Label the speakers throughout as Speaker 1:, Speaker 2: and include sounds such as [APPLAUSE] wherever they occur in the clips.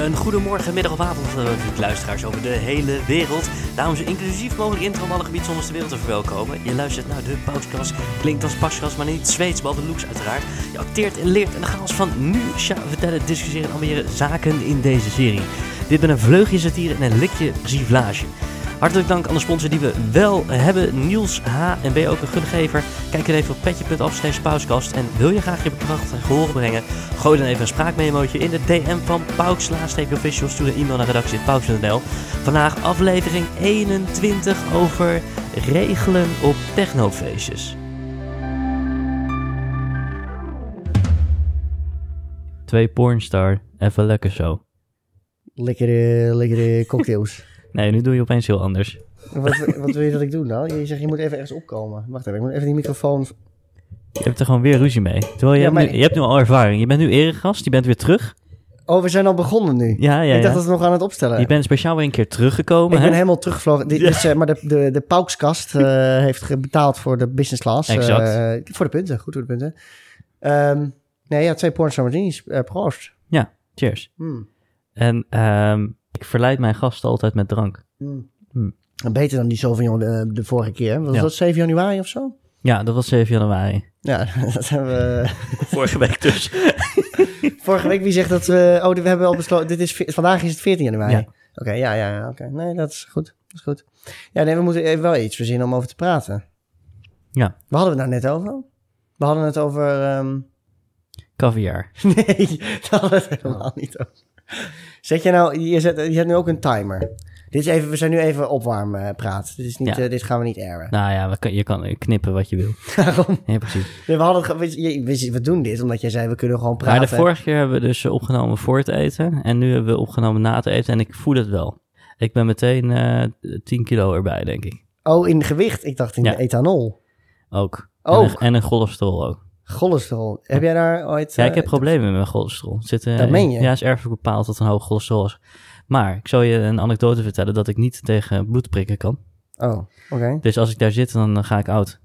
Speaker 1: Een goedemorgen, middag of avond, eh, luisteraars over de hele wereld. Daarom zo inclusief mogelijk intro om alle gebieden zonder de wereld te verwelkomen. Je luistert naar de Pouchkras, klinkt als Paskas, maar niet Zweeds, behalve looks uiteraard. Je acteert en leert en de chaos van nu Sja vertellen, discussiëren en ambiëren zaken in deze serie. Dit met een vleugje satire en een likje givlage. Hartelijk dank aan de sponsor die we wel hebben, Niels H. En ben je ook een gungever? Kijk dan even op petje.af slash pauskast. En wil je graag je bedrag ten gehoor brengen? Gooi dan even een spraakmemootje in de DM van Pauks official. Stuur een e-mail naar redactie.pauks.nl Vandaag aflevering 21 over regelen op technofeestjes. Twee pornstar, even lekker zo.
Speaker 2: Lekkere, lekkere cocktails. [LAUGHS]
Speaker 1: Nee, nu doe je opeens heel anders.
Speaker 2: wat, wat wil je dat ik doe nou? Je zegt, je moet even ergens opkomen. Wacht even, ik moet even die microfoon...
Speaker 1: Je hebt er gewoon weer ruzie mee. Terwijl je,
Speaker 2: Ja,
Speaker 1: hebt,
Speaker 2: maar-
Speaker 1: nu, je hebt nu al ervaring. Je bent nu eregast, je bent weer terug.
Speaker 2: Oh, we zijn al begonnen nu.
Speaker 1: Ja, ja,
Speaker 2: ik dacht
Speaker 1: ja.
Speaker 2: dat we nog aan het opstellen.
Speaker 1: Je bent speciaal weer een keer teruggekomen.
Speaker 2: ik
Speaker 1: hè?
Speaker 2: ben helemaal teruggevlogen. Dit
Speaker 1: Ja.
Speaker 2: is, eh, maar de, de, de Paukskast eh, heeft ge- betaald voor de business class. eh,
Speaker 1: Exact.
Speaker 2: voor de punten, goed voor de punten. Ehm, nee, ja, twee porns martinis. eh proost.
Speaker 1: Cheers.
Speaker 2: Hmm.
Speaker 1: En ehm, ik verleid mijn gasten altijd met drank.
Speaker 2: Hmm.
Speaker 1: Hmm.
Speaker 2: Beter dan die Sauvignon de, de vorige keer. Was
Speaker 1: Ja.
Speaker 2: dat 7 januari of zo?
Speaker 1: Ja, dat was 7 januari.
Speaker 2: Ja, [LAUGHS] dat hebben we...
Speaker 1: [LAUGHS] Vorige week dus.
Speaker 2: Vorige week, wie zegt dat we... Oh, we hebben al besloten... Dit is, ve- vandaag is het 14 januari.
Speaker 1: Ja.
Speaker 2: Oké, ja, ja, ja, oké. Nee, dat is goed. Dat is goed. Ja, nee, we moeten even wel iets verzinnen om over te praten.
Speaker 1: Ja.
Speaker 2: Waar hadden we het nou net over? We hadden het over... ehm, [LAUGHS]
Speaker 1: Caviar.
Speaker 2: Nee, daar hadden we het helemaal niet over. Zet je nou... Je zet, je zet nu ook een timer. Dit is even, we zijn nu even opwarm eh, praat. Dit, is niet,
Speaker 1: Ja.
Speaker 2: eh, dit gaan we niet airen.
Speaker 1: Nou ja, we kan- je kan knippen wat je wil.
Speaker 2: [LAUGHS] Daarom.
Speaker 1: Ja, precies.
Speaker 2: Nee, we, hadden, het ge- we, je- we- we doen dit omdat jij zei we kunnen gewoon praten.
Speaker 1: Maar de vorige keer hebben we dus opgenomen voor het eten. En nu hebben we opgenomen na het eten. En ik voel het wel. Ik ben meteen eh 10 kilo erbij, denk ik.
Speaker 2: Oh, in gewicht. Ik dacht in
Speaker 1: Ja.
Speaker 2: de ethanol.
Speaker 1: Ook.
Speaker 2: Ook?
Speaker 1: En een, en een cholesterol ook.
Speaker 2: Cholesterol. Heb jij daar ooit...
Speaker 1: Ja, ik
Speaker 2: eh,
Speaker 1: heb problemen met mijn cholesterol. Het Zit, eh,
Speaker 2: Dat meen je?
Speaker 1: Ja, is erfelijk bepaald dat een hoog cholesterol is. Maar ik zal je een anekdote vertellen dat ik niet tegen bloedprikken kan.
Speaker 2: Oh, oké.
Speaker 1: Dus als ik daar zit, dan eh, ga ik oud.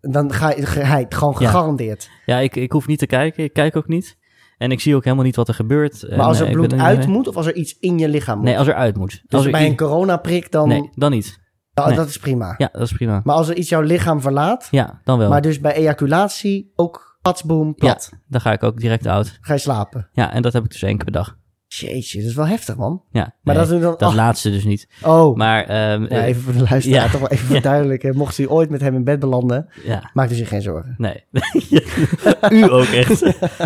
Speaker 2: Dan ga je, ga je het gewoon
Speaker 1: Ja. Eh,
Speaker 2: gegarandeerd.
Speaker 1: Ja, ik, ik hoef niet te kijken. Ik kijk ook niet. En ik zie ook helemaal niet wat er gebeurt. En,
Speaker 2: Maar als
Speaker 1: eh,
Speaker 2: er
Speaker 1: ik
Speaker 2: bloed
Speaker 1: ben
Speaker 2: uit moet of als er iets in je lichaam moet?
Speaker 1: Nee, als er uit moet.
Speaker 2: dus
Speaker 1: als er
Speaker 2: bij
Speaker 1: i-
Speaker 2: een coronaprik dan...
Speaker 1: Nee, dan niet.
Speaker 2: Oh,
Speaker 1: nee.
Speaker 2: Dat is prima.
Speaker 1: Ja, Oh. dat is prima.
Speaker 2: Maar als er iets jouw lichaam verlaat...
Speaker 1: Ja, dan wel.
Speaker 2: Maar dus bij ejaculatie ook patsboom plat.
Speaker 1: Dan ga ik ook direct oud.
Speaker 2: Ga je slapen.
Speaker 1: Ja, en dat heb ik dus één keer per dag.
Speaker 2: Jeetje, dat is wel heftig, man.
Speaker 1: Ja, nee,
Speaker 2: Maar dat doen dan...
Speaker 1: dat
Speaker 2: oh,
Speaker 1: laatste dus niet.
Speaker 2: oh.
Speaker 1: Maar ehm, eh,
Speaker 2: Ja, even voor de
Speaker 1: [LAUGHS]
Speaker 2: luisteraar,
Speaker 1: Ja.
Speaker 2: toch wel even verduidelijken. Mocht u ooit met hem in bed belanden,
Speaker 1: eh, ja,
Speaker 2: maakt u zich geen zorgen.
Speaker 1: nee. [LAUGHS] u ook
Speaker 2: [LAUGHS]
Speaker 1: echt.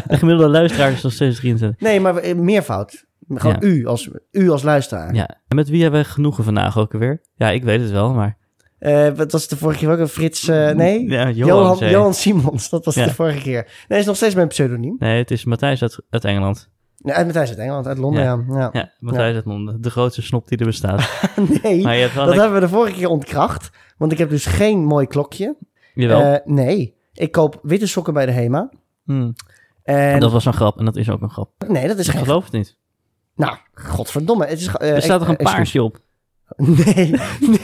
Speaker 1: De gemiddelde luisteraar is nog steeds 23.
Speaker 2: Nee, maar eh, meervoud. Gewoon
Speaker 1: Ja.
Speaker 2: u, als, u als luisteraar.
Speaker 1: Ja. En met wie hebben we genoegen vandaag ook alweer? Ja, ik weet het wel, maar...
Speaker 2: Eh, wat was de vorige keer ook? Een Frits, eh, nee?
Speaker 1: Ja, Johan,
Speaker 2: Johan,
Speaker 1: zei-
Speaker 2: Johan Simons, dat was
Speaker 1: Ja.
Speaker 2: de vorige keer. Nee, dat is nog steeds mijn pseudoniem.
Speaker 1: Nee, het is Matthijs uit, uit Engeland.
Speaker 2: Nee, uit Matthijs uit Engeland, uit Londen, ja. ja.
Speaker 1: Ja, Matthijs uit Londen. De grootste snop die er
Speaker 2: [LAUGHS]
Speaker 1: bestaat.
Speaker 2: Nee,
Speaker 1: Maar je hebt wel... lekker-
Speaker 2: dat hebben we de vorige keer ontkracht. Want ik heb dus geen mooi klokje.
Speaker 1: Jawel.
Speaker 2: Eh, nee, ik koop witte sokken bij de HEMA.
Speaker 1: Hmm.
Speaker 2: En...
Speaker 1: Dat was een grap en dat is ook een grap.
Speaker 2: Nee, dat is
Speaker 1: Ik
Speaker 2: geen...
Speaker 1: geloof het niet.
Speaker 2: Nou, godverdomme. Het is, ge- eh,
Speaker 1: Er staat toch een
Speaker 2: eh, excuus.
Speaker 1: paarsje op?
Speaker 2: [LAUGHS] Nee,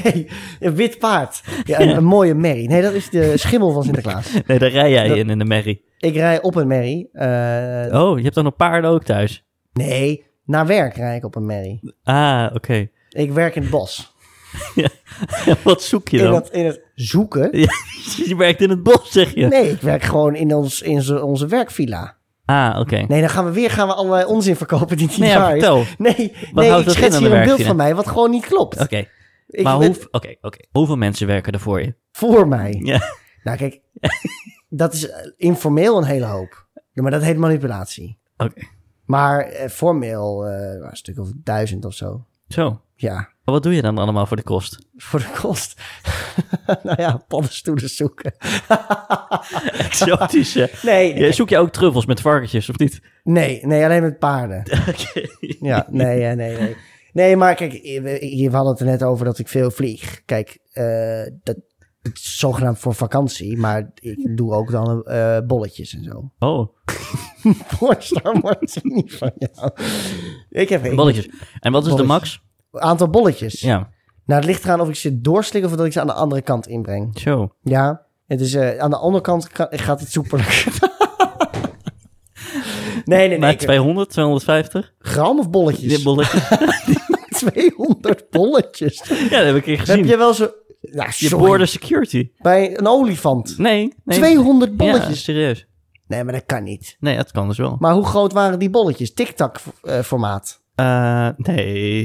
Speaker 2: nee. Een wit paard. Ja, een, een mooie merrie. Nee, dat is de schimmel van Sinterklaas.
Speaker 1: [LAUGHS] Nee, daar rij jij
Speaker 2: Dat-
Speaker 1: in in de merrie.
Speaker 2: Ik rij op een merrie. eh,
Speaker 1: Oh, je hebt dan een paarden ook thuis.
Speaker 2: Nee, naar werk rij ik op een merrie.
Speaker 1: Ah, oké. [LAUGHS]
Speaker 2: Ik werk in het bos.
Speaker 1: Wat zoek je
Speaker 2: In
Speaker 1: dan?
Speaker 2: het, in het zoeken?
Speaker 1: [LAUGHS] Je werkt in het bos, zeg je.
Speaker 2: Nee, ik werk gewoon in, ons, in zo- onze werkvilla.
Speaker 1: Ah, oké.
Speaker 2: Nee, dan gaan we weer gaan we allerlei onzin verkopen die niet
Speaker 1: Nee, ja,
Speaker 2: waar is.
Speaker 1: vertel.
Speaker 2: Nee,
Speaker 1: houdt
Speaker 2: nee ik
Speaker 1: dat
Speaker 2: schets
Speaker 1: in aan de
Speaker 2: hier een beeld
Speaker 1: werkvilla?
Speaker 2: van mij wat gewoon niet klopt.
Speaker 1: Oké,
Speaker 2: Ik
Speaker 1: maar
Speaker 2: ben
Speaker 1: hoe, oké, oké. hoeveel mensen werken er voor je?
Speaker 2: Voor mij.
Speaker 1: Ja.
Speaker 2: Nou kijk, dat is eh, informeel een hele hoop. Ja, maar dat heet manipulatie.
Speaker 1: Oké,
Speaker 2: Maar eh, formeel eh, een stuk of duizend of zo.
Speaker 1: zo.
Speaker 2: Ja,
Speaker 1: Wat doe je dan allemaal voor de kost? [LAUGHS]
Speaker 2: voor de kost. [LAUGHS] nou ja, paddenstoelen zoeken.
Speaker 1: Exotisch, hè?
Speaker 2: Nee,
Speaker 1: Je- Zoek je ook truffels met varkentjes, of niet?
Speaker 2: [LAUGHS] Nee, nee, alleen met paarden.
Speaker 1: Oké.
Speaker 2: Ja,
Speaker 1: [LAUGHS]
Speaker 2: nee, ja, nee, nee. Nee, maar kijk, eh, we, we hadden het er net over dat ik veel vlieg. Kijk, eh, dat, het is zogenaamd voor vakantie, maar ik doe ook dan eh, bolletjes en zo. [LAUGHS]
Speaker 1: Oh,
Speaker 2: Pornstar martini van jou. Ik heb een
Speaker 1: balletjes. En wat is de
Speaker 2: Balletjes.
Speaker 1: max?
Speaker 2: aantal bolletjes.
Speaker 1: Ja,
Speaker 2: Nou, het ligt eraan of ik ze doorslik of dat ik ze aan de andere kant inbreng.
Speaker 1: zo.
Speaker 2: Ja, het is, eh, aan de andere kant ka- gaat het soepeler. [LAUGHS] Nee, nee, nee.
Speaker 1: Maar
Speaker 2: ik-
Speaker 1: 200, 250?
Speaker 2: Gram of bolletjes?
Speaker 1: Dit bolletje.
Speaker 2: [LAUGHS] 200 bolletjes.
Speaker 1: Ja, dat heb ik een keer gezien.
Speaker 2: Heb je wel zo... Ja,
Speaker 1: je
Speaker 2: sorry.
Speaker 1: border security.
Speaker 2: Bij een olifant.
Speaker 1: Nee. nee.
Speaker 2: 200
Speaker 1: Ja,
Speaker 2: bolletjes.
Speaker 1: serieus.
Speaker 2: Nee, maar dat kan niet.
Speaker 1: Nee, dat kan dus wel.
Speaker 2: Maar hoe groot waren die bolletjes? Tic-tac eh, formaat.
Speaker 1: Eh, nee.
Speaker 2: Maar die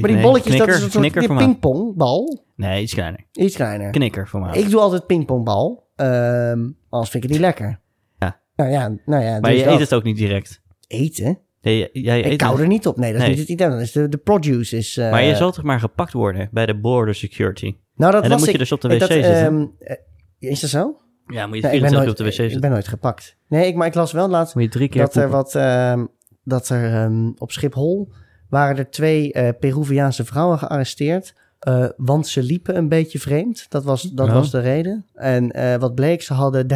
Speaker 1: nee.
Speaker 2: bolletjes,
Speaker 1: knikker,
Speaker 2: dat is een soort die
Speaker 1: knikkerformaat.
Speaker 2: pingpongbal.
Speaker 1: Nee, iets kleiner.
Speaker 2: Iets kleiner.
Speaker 1: Knikkerformaat.
Speaker 2: Ik doe altijd pingpongbal. Ehm anders vind ik het niet lekker.
Speaker 1: Ja.
Speaker 2: Nou ja, nou ja
Speaker 1: maar
Speaker 2: dus
Speaker 1: je
Speaker 2: dat.
Speaker 1: eet het ook niet direct.
Speaker 2: Eten?
Speaker 1: Nee, jij- jij eet
Speaker 2: ik
Speaker 1: het.
Speaker 2: kauw er niet op. Nee, dat is
Speaker 1: Nee.
Speaker 2: niet het idee. Dan is de, de produce is... eh,
Speaker 1: Maar je zal toch maar gepakt worden bij de border security?
Speaker 2: Nou, dat
Speaker 1: en dan
Speaker 2: was
Speaker 1: moet je
Speaker 2: ik.
Speaker 1: dus op de
Speaker 2: Ik
Speaker 1: wc zitten.
Speaker 2: ehm, eh, is dat zo?
Speaker 1: Ja, moet je
Speaker 2: Nee,
Speaker 1: 24 uur
Speaker 2: nooit,
Speaker 1: op de wc
Speaker 2: ik
Speaker 1: zitten.
Speaker 2: ben nooit gepakt. Nee, ik, maar ik las wel laatst
Speaker 1: Moet je drie keer
Speaker 2: dat er
Speaker 1: poepen.
Speaker 2: wat... ehm, dat er ehm, op Schiphol waren er twee eh, Peruviaanse vrouwen gearresteerd... eh, want ze liepen een beetje vreemd. Dat was, dat
Speaker 1: Oh.
Speaker 2: was de reden. En eh, wat bleek, ze hadden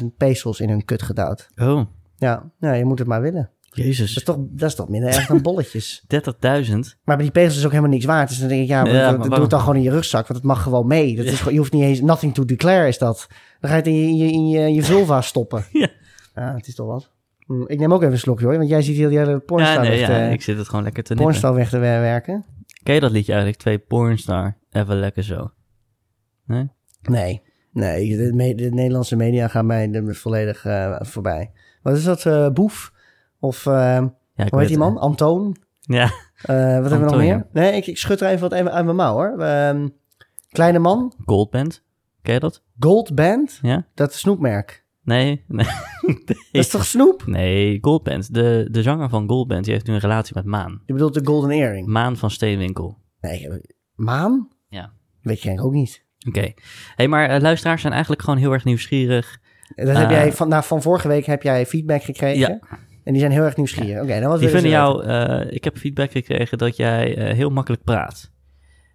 Speaker 2: 30.000 pesos in hun kut gedouwd.
Speaker 1: Oh,
Speaker 2: Ja, nou, je moet het maar willen. Dat
Speaker 1: jezus.
Speaker 2: is toch, dat is toch minder erg dan bolletjes.
Speaker 1: 30.000?
Speaker 2: Maar bij die pezels is ook helemaal niks waard. Dus dan denk ik, ja, maar
Speaker 1: Ja, maar
Speaker 2: dat- dat doe
Speaker 1: waarom?
Speaker 2: het dan gewoon in je rugzak. Want het mag gewoon mee. Dat is gewoon, je hoeft niet eens... Nothing to declare is dat. Dan ga je het in je, in je, in je, in je vulva stoppen.
Speaker 1: [LAUGHS] Ja.
Speaker 2: Ja, het is toch wat. Hm, Ik neem ook even een slokje hoor. Want jij ziet heel die hele pornstar
Speaker 1: Ja, nee,
Speaker 2: weg,
Speaker 1: ja,
Speaker 2: te,
Speaker 1: ik zit het gewoon lekker te nippen.
Speaker 2: pornstar weg te werken.
Speaker 1: Ken je dat liedje eigenlijk? Twee pornstar, even lekker zo.
Speaker 2: Nee. Nee, de, me- de Nederlandse media gaan mij de- volledig eh, voorbij. Wat is dat? eh, Boef? Of eh,
Speaker 1: Ja, ik
Speaker 2: hoe heet
Speaker 1: weet
Speaker 2: die
Speaker 1: het.
Speaker 2: man? Antoon?
Speaker 1: Ja,
Speaker 2: Eh, wat hebben we nog
Speaker 1: Antoon,
Speaker 2: meer? Nee, ik, ik schud er even wat even uit mijn mouw hoor. Ehm, kleine man,
Speaker 1: Goldband. Ken je dat?
Speaker 2: Gold Band,
Speaker 1: Ja?
Speaker 2: dat snoepmerk.
Speaker 1: Nee? [LAUGHS] Nee,
Speaker 2: Dat is toch snoep?
Speaker 1: nee Goldband. De, de zanger van Goldband, die heeft nu een relatie met Maan.
Speaker 2: Je bedoelt de Golden Earring?
Speaker 1: Maan van Steenwinkel.
Speaker 2: Nee, ik heb- maan?
Speaker 1: Ja.
Speaker 2: Weet je eigenlijk ook niet.
Speaker 1: Oké. hey, maar eh, luisteraars zijn eigenlijk gewoon heel erg nieuwsgierig.
Speaker 2: Dat heb
Speaker 1: Ah.
Speaker 2: jij van, nou, van vorige week heb jij feedback gekregen.
Speaker 1: Ja.
Speaker 2: En die zijn heel erg nieuwsgierig. Oké, dan wat
Speaker 1: Die
Speaker 2: willen
Speaker 1: vinden
Speaker 2: ze
Speaker 1: jou... eh, ik heb feedback gekregen dat jij eh, heel makkelijk praat.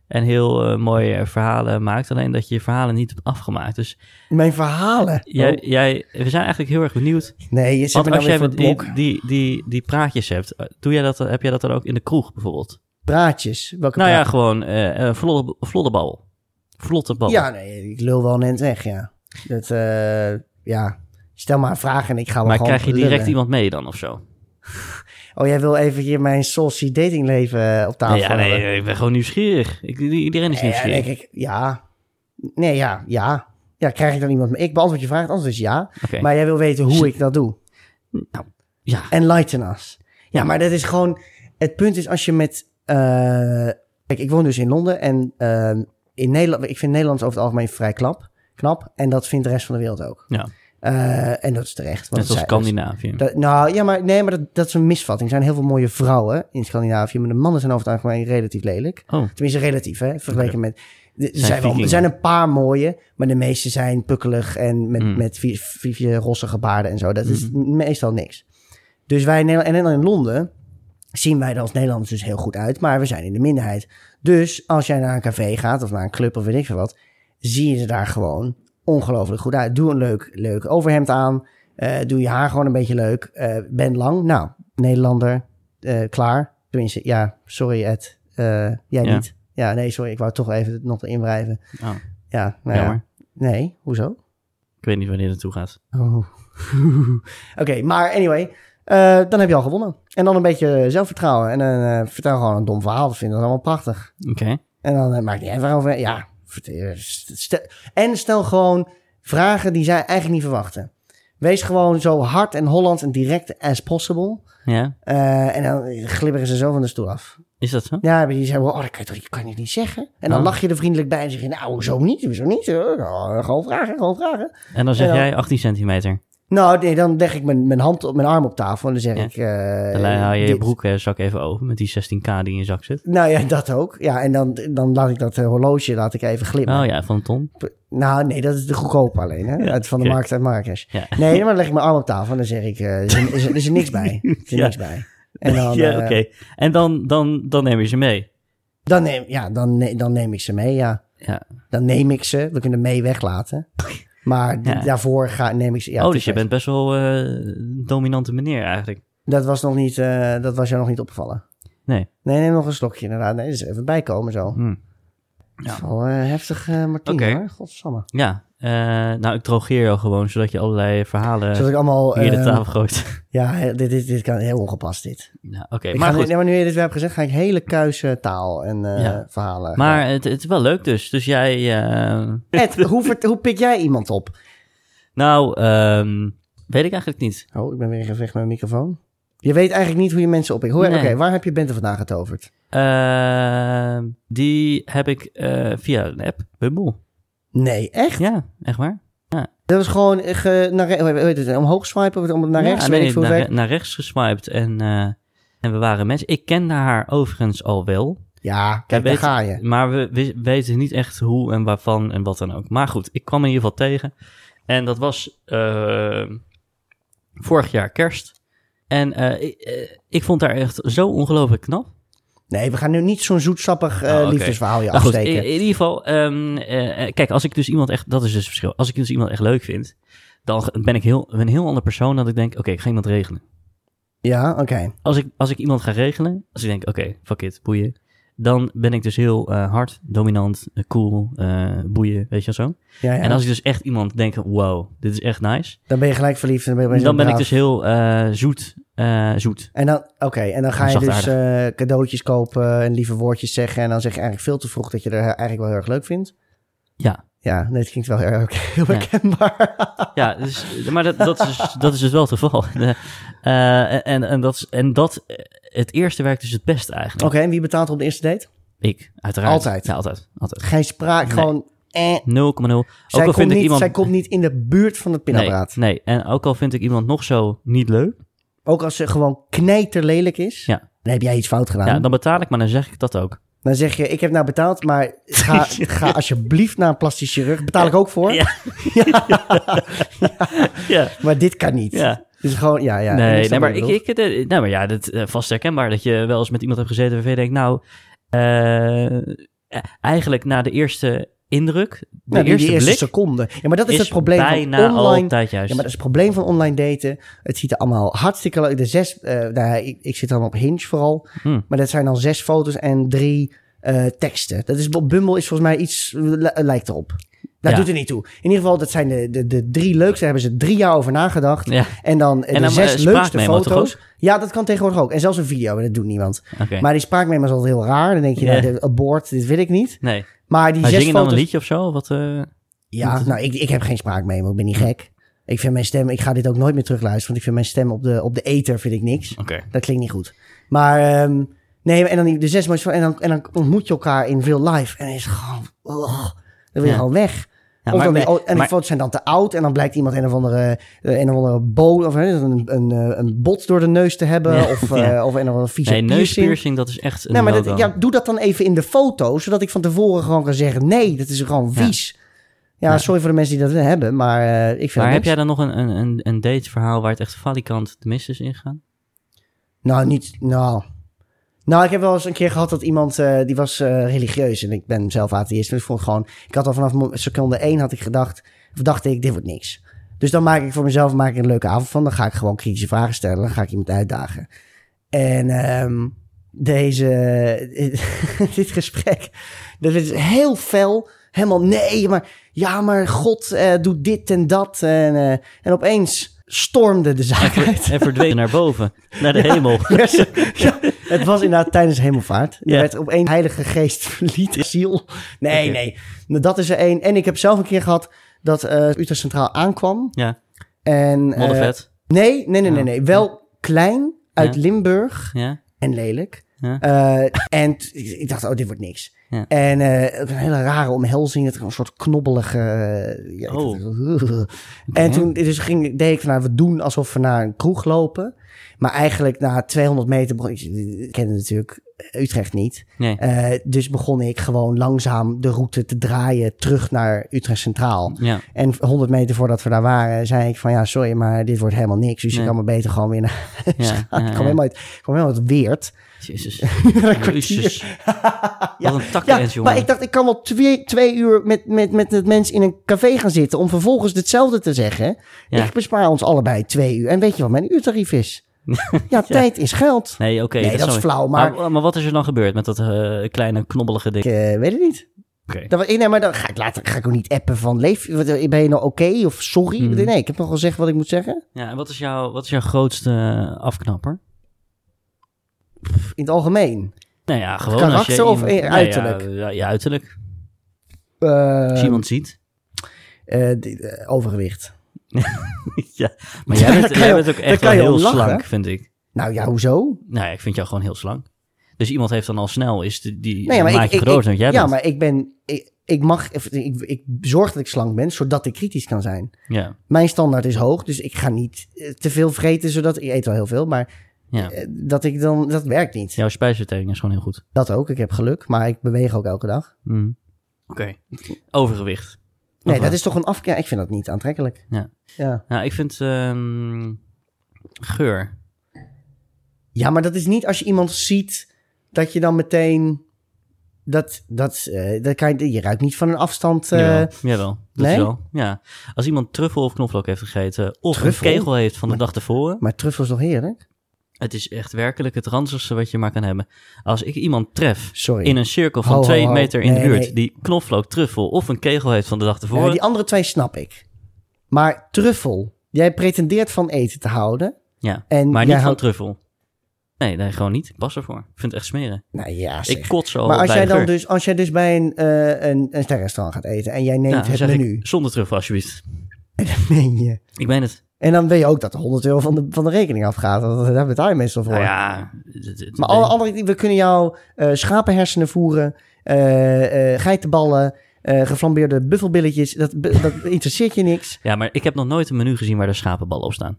Speaker 1: En heel eh, mooie verhalen maakt. Alleen dat je je verhalen niet hebt afgemaakt. Dus
Speaker 2: weten? Mijn verhalen.
Speaker 1: jij,
Speaker 2: Oh,
Speaker 1: jij, we zijn eigenlijk heel erg benieuwd.
Speaker 2: nee, je zit
Speaker 1: Want
Speaker 2: me nou
Speaker 1: als
Speaker 2: weer
Speaker 1: jij
Speaker 2: voor het
Speaker 1: met
Speaker 2: blok.
Speaker 1: die, die, die, die praatjes hebt, eh, doe jij dat, heb jij dat dan ook in de kroeg bijvoorbeeld?
Speaker 2: Praatjes. Welke
Speaker 1: Nou ja,
Speaker 2: praat-
Speaker 1: gewoon eh eh, vlotte, vlotte babbel. Vlotte babbel.
Speaker 2: Ja, nee, ik lul wel net weg, ja. Dat, eh, ja. Stel maar een vraag en ik ga wel
Speaker 1: maar
Speaker 2: gewoon
Speaker 1: krijg je direct
Speaker 2: lullen.
Speaker 1: iemand mee dan of zo?
Speaker 2: Oh, jij wil even hier mijn saucy datingleven eh, op tafel
Speaker 1: Nee, ja, nee,
Speaker 2: hebben.
Speaker 1: nee, ik ben gewoon nieuwsgierig. Ik, iedereen is
Speaker 2: Nee, ja,
Speaker 1: nieuwsgierig.
Speaker 2: denk ik, ja. Nee, ja, ja. Ja, krijg ik dan iemand mee? Ik beantwoord je vraag, het antwoord is ja.
Speaker 1: Oké.
Speaker 2: Maar jij wil weten hoe ik dat doe.
Speaker 1: Nou, ja.
Speaker 2: Enlighten us. Ja, maar dat is gewoon... Het punt is als je met... eh, kijk, ik woon dus in Londen en ehm, in Nederland, ik vind Nederlands over het algemeen vrij knap. knap en dat vindt de rest van de wereld ook.
Speaker 1: Ja.
Speaker 2: Eh, en dat is terecht. want
Speaker 1: Net zoals
Speaker 2: zij- dat is-
Speaker 1: Scandinavië.
Speaker 2: dat- nou ja, maar, nee, maar dat, dat is een misvatting. Er zijn heel veel mooie vrouwen in Scandinavië, maar de mannen zijn over het algemeen relatief lelijk.
Speaker 1: Oh,
Speaker 2: Tenminste, relatief, hè? Vergeleken met. de- Er
Speaker 1: Zijn
Speaker 2: zijn, wel, er
Speaker 1: vikingen.
Speaker 2: zijn een paar mooie, maar de meeste zijn pukkelig en met,
Speaker 1: Mm. Mm-hmm.
Speaker 2: met vier, vier, vier rossige baarden en zo. Dat is meestal niks. Dus wij in Nederland, en dan in Londen zien wij er als Nederlanders dus heel goed uit, maar we zijn in de minderheid. Dus als jij naar een café gaat of naar een club of weet ik veel wat, zie je er daar gewoon ongelooflijk goed uit. Doe een leuk, leuk overhemd aan, eh, doe je haar gewoon een beetje leuk, eh, ben lang. Nou, Nederlander, eh, klaar. Tenminste, ja, sorry Ed, Eh, jij
Speaker 1: Ja.
Speaker 2: niet. Ja, nee, sorry, ik wou toch even het nog inwrijven.
Speaker 1: oh,
Speaker 2: Ja, nou ja.
Speaker 1: jammer.
Speaker 2: Nee, hoezo?
Speaker 1: Ik weet niet wanneer het toe gaat.
Speaker 2: Oh. [LAUGHS] Oké, maar anyway, eh, dan heb je al gewonnen. En dan een beetje zelfvertrouwen. En dan eh, vertel gewoon een dom verhaal. Dat vinden we allemaal prachtig.
Speaker 1: Oké.
Speaker 2: En dan eh, maakt niet uit waarover. Ja, vertel- stel- en stel gewoon vragen die zij eigenlijk niet verwachten. Wees gewoon zo hard en Hollands en direct as possible.
Speaker 1: Ja,
Speaker 2: Eh, en dan glibberen ze zo van de stoel af.
Speaker 1: is dat zo?
Speaker 2: Ja, maar die zeggen, oh, dat kan je toch niet, kan je niet zeggen? En dan
Speaker 1: Oh.
Speaker 2: lach je er vriendelijk bij en zeg je, nou, zo niet, zo niet. Oh, gewoon vragen, gewoon vragen.
Speaker 1: En dan zeg
Speaker 2: Ja.
Speaker 1: jij 18 centimeter.
Speaker 2: Nou, nee, dan leg ik mijn, mijn hand op mijn arm op tafel en dan zeg
Speaker 1: Ja.
Speaker 2: ik. eh,
Speaker 1: Dan haal je je
Speaker 2: dit.
Speaker 1: broekzak even open met die 16k die in je zak zit.
Speaker 2: Nou ja, dat ook. Ja, en dan, dan laat ik dat eh, horloge laat ik even glimmen.
Speaker 1: Oh ja, van Tom.
Speaker 2: Nou, nee, dat is de goedkoop alleen. Hè? Uit van de
Speaker 1: oké.
Speaker 2: markt uit Marrakesh.
Speaker 1: Ja.
Speaker 2: Nee, dan leg ik mijn arm op tafel en dan zeg ik: eh, is er is, er- is er niks
Speaker 1: [LAUGHS]
Speaker 2: bij. Is er
Speaker 1: Ja.
Speaker 2: niks bij. En dan,
Speaker 1: [LAUGHS] ja,
Speaker 2: eh,
Speaker 1: oké. En dan, dan, dan neem je ze mee.
Speaker 2: dan, neem, ja, dan, ne- dan neem ik ze mee. Ja.
Speaker 1: Ja.
Speaker 2: Dan neem ik ze. We kunnen mee weglaten. Maar d-
Speaker 1: Ja.
Speaker 2: daarvoor ga, neem ik ze. Ja,
Speaker 1: oh,
Speaker 2: het
Speaker 1: dus
Speaker 2: is
Speaker 1: je
Speaker 2: best.
Speaker 1: bent best wel eh, een dominante meneer eigenlijk.
Speaker 2: Dat was, nog niet, eh, dat was jou nog niet opgevallen.
Speaker 1: Nee.
Speaker 2: Nee, neem nog een slokje inderdaad. Nee, dus even bijkomen zo.
Speaker 1: Hm.
Speaker 2: Ja. Wel, eh, heftig, eh Martien,
Speaker 1: Oké.
Speaker 2: hoor. Godsamme.
Speaker 1: Ja, Eh, nou, ik drogeer jou gewoon, zodat je allerlei verhalen
Speaker 2: Zodat ik allemaal...
Speaker 1: Eh, hier de
Speaker 2: ehm,
Speaker 1: tafel gooit. [LAUGHS]
Speaker 2: ja, dit, dit, dit kan heel ongepast dit.
Speaker 1: nou, Oké,
Speaker 2: Ik
Speaker 1: maar
Speaker 2: ga nu,
Speaker 1: goed.
Speaker 2: nee, maar nu je dit weer hebt gezegd, ga ik hele kuise taal en eh,
Speaker 1: Ja.
Speaker 2: verhalen.
Speaker 1: Maar het, het is wel leuk dus. Dus jij... eh,
Speaker 2: Ed, hoe, vert- hoe pik jij iemand op?
Speaker 1: nou, ehm, weet ik eigenlijk niet.
Speaker 2: Oh, ik ben weer in gevecht met mijn microfoon. Je weet eigenlijk niet hoe je mensen oppikt. Hoe- Oké,
Speaker 1: Nee.
Speaker 2: waar heb je Bente vandaag getoverd?
Speaker 1: Ehm, die heb ik eh, via een app, Bumble.
Speaker 2: Nee, echt?
Speaker 1: Ja, echt waar.
Speaker 2: Dat was gewoon eh, ge, naar, re- hoe heet het, omhoog swipen, om naar
Speaker 1: Ja,
Speaker 2: rechts,
Speaker 1: nee,
Speaker 2: weet ik veel hoe
Speaker 1: naar,
Speaker 2: het
Speaker 1: re- naar rechts geswiped en, eh, en we waren mensen. Ik kende haar overigens al wel,
Speaker 2: werkt. Ja, kijk, daar
Speaker 1: weet-
Speaker 2: ga je.
Speaker 1: maar we wi- weten niet echt hoe en waarvan en wat dan ook. Maar goed, ik kwam in ieder geval tegen en dat was eh, vorig jaar kerst. En eh, ik, eh, ik vond haar echt zo ongelooflijk knap.
Speaker 2: Nee, we gaan nu niet zo'n zoetsappig eh,
Speaker 1: Oh, oké.
Speaker 2: liefdesverhaal je
Speaker 1: Nou goed,
Speaker 2: afsteken.
Speaker 1: in, in ieder geval, ehm, eh, eh, kijk, als ik dus iemand echt, dat is dus het verschil. Als ik dus iemand echt leuk vind, dan ge- ben ik heel, een heel ander persoon dan ik denk, oké, ik ga iemand regelen.
Speaker 2: ja, oké.
Speaker 1: Als ik, als ik iemand ga regelen, als ik denk, oké, fuck it, boeien. Dan ben ik dus heel eh, hard, dominant, eh, cool, eh, boeien, weet je wel zo.
Speaker 2: Ja, ja.
Speaker 1: En als ik dus echt iemand denk, wow, dit is echt nice.
Speaker 2: Dan ben je gelijk verliefd. En dan ben, je
Speaker 1: Dan ben ik
Speaker 2: braaf.
Speaker 1: dus heel eh, zoet, eh, zoet.
Speaker 2: En dan, oké, en dan ga je dus
Speaker 1: Zachtaardig.
Speaker 2: eh, cadeautjes kopen en lieve woordjes zeggen. En dan zeg je eigenlijk veel te vroeg dat je er eigenlijk wel heel erg leuk vindt.
Speaker 1: Ja,
Speaker 2: Ja, nee, het klinkt wel heel, erg- heel
Speaker 1: Ja.
Speaker 2: herkenbaar.
Speaker 1: [LAUGHS] ja dus, maar dat, dat, is, dus- dat is dus wel het geval. [LAUGHS] Eh, en, en, dat, is- en dat, eh, het eerste werkt dus het beste eigenlijk.
Speaker 2: Oké, en wie betaalt er op de eerste date?
Speaker 1: Ik, uiteraard.
Speaker 2: Altijd?
Speaker 1: Ja, altijd. altijd. 0,0.
Speaker 2: Geen sprake,
Speaker 1: Nee.
Speaker 2: gewoon eh.
Speaker 1: Ook
Speaker 2: Zij,
Speaker 1: al
Speaker 2: komt
Speaker 1: vind
Speaker 2: niet,
Speaker 1: ik iemand...
Speaker 2: zij komt niet in de buurt van het
Speaker 1: nee,
Speaker 2: pinapparaat.
Speaker 1: nee, en ook al vind ik iemand nog zo niet leuk,
Speaker 2: Ook als ze gewoon knijterlelijk is,
Speaker 1: Ja.
Speaker 2: dan heb jij iets fout gedaan.
Speaker 1: ja, dan betaal ik, maar dan zeg ik dat ook.
Speaker 2: Dan zeg je, ik heb nou betaald, maar
Speaker 1: [LAUGHS]
Speaker 2: ga, ga alsjeblieft naar een plastisch chirurg. Betaal ik ook voor,
Speaker 1: Ja. Ja,
Speaker 2: maar dit kan niet.
Speaker 1: ja.
Speaker 2: Dus gewoon, ja, ja. ik
Speaker 1: nee,
Speaker 2: snap
Speaker 1: nee, maar
Speaker 2: wat je
Speaker 1: ik,
Speaker 2: bedoelt.
Speaker 1: ik, eh, nee, maar ja, dat, eh, vast herkenbaar dat je wel eens met iemand hebt gezeten waarvan je denkt, nou, eh, eh, eigenlijk na de eerste indruk, de
Speaker 2: Nou, die-
Speaker 1: eerste,
Speaker 2: die
Speaker 1: blik,
Speaker 2: eerste seconde. Ja, maar dat is,
Speaker 1: is
Speaker 2: het probleem van
Speaker 1: bijna
Speaker 2: online.
Speaker 1: altijd juist.
Speaker 2: Ja, maar dat is het probleem van online daten. Het ziet er allemaal hartstikke leuk. De zes, eh, nou, ja, ik, ik zit dan op Hinge vooral.
Speaker 1: Hmm.
Speaker 2: Maar dat zijn dan zes foto's en drie eh, teksten. Dat is, Bumble is volgens mij iets, li- lijkt erop. Dat
Speaker 1: Ja.
Speaker 2: doet er niet toe. In ieder geval, dat zijn de, de, de drie leukste. Daar hebben ze drie jaar over nagedacht.
Speaker 1: Ja,
Speaker 2: En dan eh, de
Speaker 1: dan, eh,
Speaker 2: zes
Speaker 1: spraakmemo
Speaker 2: leukste
Speaker 1: toch
Speaker 2: foto's. Ja, dat kan tegenwoordig ook. En zelfs een video, maar dat doet niemand.
Speaker 1: oké.
Speaker 2: Maar die spraakmemo is altijd heel raar. Dan denk je,
Speaker 1: Ja.
Speaker 2: nou, de- abort, dit wil ik niet.
Speaker 1: Nee,
Speaker 2: Maar die
Speaker 1: maar
Speaker 2: zes
Speaker 1: zing je dan
Speaker 2: foto's...
Speaker 1: een liedje of zo? Wat, eh,
Speaker 2: Ja, nou, ik, ik heb geen spraakmemo. Ik ben niet gek. Ik vind mijn stem... Ik ga dit ook nooit meer terugluisteren. Want ik vind mijn stem op de, op de ether vind ik niks.
Speaker 1: Oké.
Speaker 2: Dat klinkt niet goed. Maar ehm, nee, en dan die- de zes mooiste van... En dan, en dan ontmoet je elkaar in real life. En dan is het gewoon... oh, dan wil je
Speaker 1: Ja.
Speaker 2: gewoon weg.
Speaker 1: Ja,
Speaker 2: Of
Speaker 1: maar-
Speaker 2: dan weer- oh, en die
Speaker 1: maar-
Speaker 2: foto's zijn dan te oud. En dan blijkt iemand een of andere, eh, een of andere boot of eh, een, een, eh, een bot door de neus te hebben.
Speaker 1: Ja,
Speaker 2: Of,
Speaker 1: [LAUGHS] ja.
Speaker 2: eh, of een of andere vieze
Speaker 1: Nee,
Speaker 2: piercing.
Speaker 1: neuspiercing, dat is echt een
Speaker 2: Nee, maar dat,
Speaker 1: no-go.
Speaker 2: ja, doe dat dan even in de foto, zodat ik van tevoren gewoon kan zeggen: nee, dat is gewoon
Speaker 1: Ja.
Speaker 2: vies. Ja, sorry voor de mensen die dat hebben, maar eh, ik vind
Speaker 1: Maar
Speaker 2: het
Speaker 1: heb jij
Speaker 2: niks.
Speaker 1: dan nog een, een, een, een dateverhaal waar het echt valikant de mist is ingegaan?
Speaker 2: Nou, niet. Nou. nou, ik heb wel eens een keer gehad dat iemand eh, die was eh, religieus en ik ben zelf atheïst. Dus ik vond gewoon, ik had al vanaf mo- seconde één had ik gedacht, of dacht ik, dit wordt niks. Dus dan maak ik voor mezelf maak ik een leuke avond van. Dan ga ik gewoon kritische vragen stellen. Dan ga ik iemand uitdagen. En ehm, deze, [LAUGHS] dit gesprek, dat is heel fel. Helemaal nee, maar ja, maar God eh, doet dit en dat. En, eh, en opeens stormde de zaak uit.
Speaker 1: En verdween naar boven, naar de
Speaker 2: [LAUGHS]
Speaker 1: hemel.
Speaker 2: Yes. Ja, het was inderdaad tijdens hemelvaart. Er
Speaker 1: Ja.
Speaker 2: werd op één heilige geest [LAUGHS] verliet de ziel. Nee,
Speaker 1: Oké.
Speaker 2: nee. Nou, Dat is er één. En ik heb zelf een keer gehad dat eh, Utrecht Centraal aankwam.
Speaker 1: Ja,
Speaker 2: En, eh,
Speaker 1: moddervet.
Speaker 2: nee, nee, nee, nee,
Speaker 1: Ja.
Speaker 2: nee. Wel klein, uit
Speaker 1: Ja.
Speaker 2: Limburg
Speaker 1: Ja,
Speaker 2: en lelijk.
Speaker 1: ja.
Speaker 2: Eh, en t- ik dacht, oh, dit wordt niks.
Speaker 1: Ja.
Speaker 2: En eh, ook een hele rare omhelzing. Het, een soort knobbelige... eh, ja, ik
Speaker 1: Oh.
Speaker 2: dacht, En toen dus ging, deed ik van, nou, we doen alsof we naar een kroeg lopen. Maar eigenlijk na 200 meter... Begon, ik, ik kende natuurlijk Utrecht niet.
Speaker 1: Nee.
Speaker 2: Eh, dus begon ik gewoon langzaam de route te draaien terug naar Utrecht Centraal.
Speaker 1: Ja.
Speaker 2: En 100 meter voordat we daar waren, zei ik van ja, sorry, maar dit wordt helemaal niks. Dus je
Speaker 1: Nee.
Speaker 2: kan maar beter gewoon weer naar [LAUGHS] huis
Speaker 1: Ja,
Speaker 2: gaan.
Speaker 1: ja,
Speaker 2: Ik
Speaker 1: ja.
Speaker 2: kwam helemaal uit, ik kwam helemaal uit Weert.
Speaker 1: Jezus.
Speaker 2: [LAUGHS] kwartier.
Speaker 1: Jezus.
Speaker 2: [LAUGHS] Ja,
Speaker 1: Wat een takken
Speaker 2: Ja,
Speaker 1: jongen.
Speaker 2: maar ik dacht, ik kan wel twee, twee uur met, met, met het mens in een café gaan zitten om vervolgens hetzelfde te zeggen.
Speaker 1: Ja.
Speaker 2: Ik bespaar ons allebei twee uur. En weet je wat mijn
Speaker 1: [LAUGHS]
Speaker 2: uurtarief is? ja, tijd is geld.
Speaker 1: Nee, oké.
Speaker 2: Nee, dat is
Speaker 1: snap ik.
Speaker 2: flauw, maar-
Speaker 1: maar... wat is er dan gebeurd met dat eh, kleine knobbelige ding?
Speaker 2: Ik eh, weet het niet. Dat, wa- nee, maar dan ga ik later ga ik ook niet appen van leef. wat, eh, Ben je nou oké of sorry?
Speaker 1: Mhm.
Speaker 2: Nee, ik heb nog wel gezegd wat ik moet zeggen.
Speaker 1: Ja, en wat is, jouw, wat is jouw grootste eh, afknapper?
Speaker 2: In het algemeen.
Speaker 1: Nou ja, gewoon als je
Speaker 2: Karakter of
Speaker 1: iemand-
Speaker 2: in-
Speaker 1: Nou ja,
Speaker 2: uiterlijk?
Speaker 1: Ja, ja, uiterlijk.
Speaker 2: Eh,
Speaker 1: Als je iemand ziet.
Speaker 2: [LAUGHS] eh, die- eh, overgewicht.
Speaker 1: ja, maar jij bent,
Speaker 2: Daar kan
Speaker 1: jij
Speaker 2: je-
Speaker 1: bent ook
Speaker 2: daar
Speaker 1: echt
Speaker 2: kan
Speaker 1: wel
Speaker 2: je
Speaker 1: heel
Speaker 2: om lachen,
Speaker 1: slank,
Speaker 2: hè?
Speaker 1: vind ik.
Speaker 2: Nou ja, hoezo?
Speaker 1: Nou ja, ik vind jou gewoon heel slank. Dus iemand heeft dan al snel, is de, die
Speaker 2: Nee, maar
Speaker 1: maak
Speaker 2: ik,
Speaker 1: je
Speaker 2: ik,
Speaker 1: groter dan
Speaker 2: ik-
Speaker 1: jij
Speaker 2: ja,
Speaker 1: bent.
Speaker 2: maar ik ben. Ik, ik mag. of Ik, ik zorg dat ik slank ben, zodat ik kritisch kan zijn.
Speaker 1: Ja,
Speaker 2: Mijn standaard is hoog, dus ik ga niet eh, te veel vreten, zodat ik eet wel heel veel, maar
Speaker 1: ja.
Speaker 2: eh, dat ik dan dat werkt niet.
Speaker 1: Jouw spijsvertering is gewoon heel goed.
Speaker 2: Dat ook. Ik heb geluk, maar ik beweeg ook elke dag.
Speaker 1: Mm. Oké. Overgewicht.
Speaker 2: Nee,
Speaker 1: Nog
Speaker 2: dat is toch een afkeer. Ik vind dat niet aantrekkelijk.
Speaker 1: Ja.
Speaker 2: Ja.
Speaker 1: Nou, ik vind ehm, geur.
Speaker 2: Ja, maar dat is niet als je iemand ziet dat je dan meteen dat dat eh, dat kan je, je ruikt niet van een afstand. eh,
Speaker 1: Jawel, jawel. Dat
Speaker 2: nee?
Speaker 1: wel. Ja. Als iemand truffel of knoflook heeft gegeten of
Speaker 2: Truffel?
Speaker 1: een kegel heeft van de dag tevoren,
Speaker 2: maar truffels nog heerlijk.
Speaker 1: het is echt werkelijk het ranzigste wat je maar kan hebben. Als ik iemand tref
Speaker 2: Sorry.
Speaker 1: in een cirkel van
Speaker 2: Ho, ho,
Speaker 1: twee
Speaker 2: ho.
Speaker 1: meter in de
Speaker 2: Nee,
Speaker 1: buurt
Speaker 2: nee.
Speaker 1: die knoflook, truffel of een kegel heeft van de dag
Speaker 2: Ja,
Speaker 1: tevoren,
Speaker 2: Eh, die andere twee snap ik. Maar truffel, jij pretendeert van eten te houden.
Speaker 1: ja,
Speaker 2: En
Speaker 1: maar
Speaker 2: jij
Speaker 1: niet van
Speaker 2: houdt-
Speaker 1: truffel. Nee, nee, gewoon niet. Ik Pas ervoor. Ik vind het echt smeren.
Speaker 2: Nou ja, zeg.
Speaker 1: Ik kots al
Speaker 2: maar als
Speaker 1: Oh, bij
Speaker 2: jij
Speaker 1: de
Speaker 2: dan
Speaker 1: geur.
Speaker 2: dus, als jij dus bij een, eh een, een sterrenrestaurant gaat eten en jij neemt
Speaker 1: Ja, Nou, dan
Speaker 2: het
Speaker 1: zeg ik,
Speaker 2: menu,
Speaker 1: zonder truffel alsjeblieft.
Speaker 2: [LAUGHS] meen je.
Speaker 1: Ik meen het.
Speaker 2: En dan weet je ook dat er 100 euro van de, van de rekening afgaat. want Daar betaal je meestal voor.
Speaker 1: Nou ja, het- het-
Speaker 2: Maar alle andere, we kunnen jou eh, schapenhersenen voeren, eh, eh, geitenballen, eh, geflambeerde buffelbilletjes. Dat, be- dat interesseert je niks.
Speaker 1: Ja, maar ik heb nog nooit een menu gezien waar er schapenballen op
Speaker 2: [LAUGHS]
Speaker 1: staan.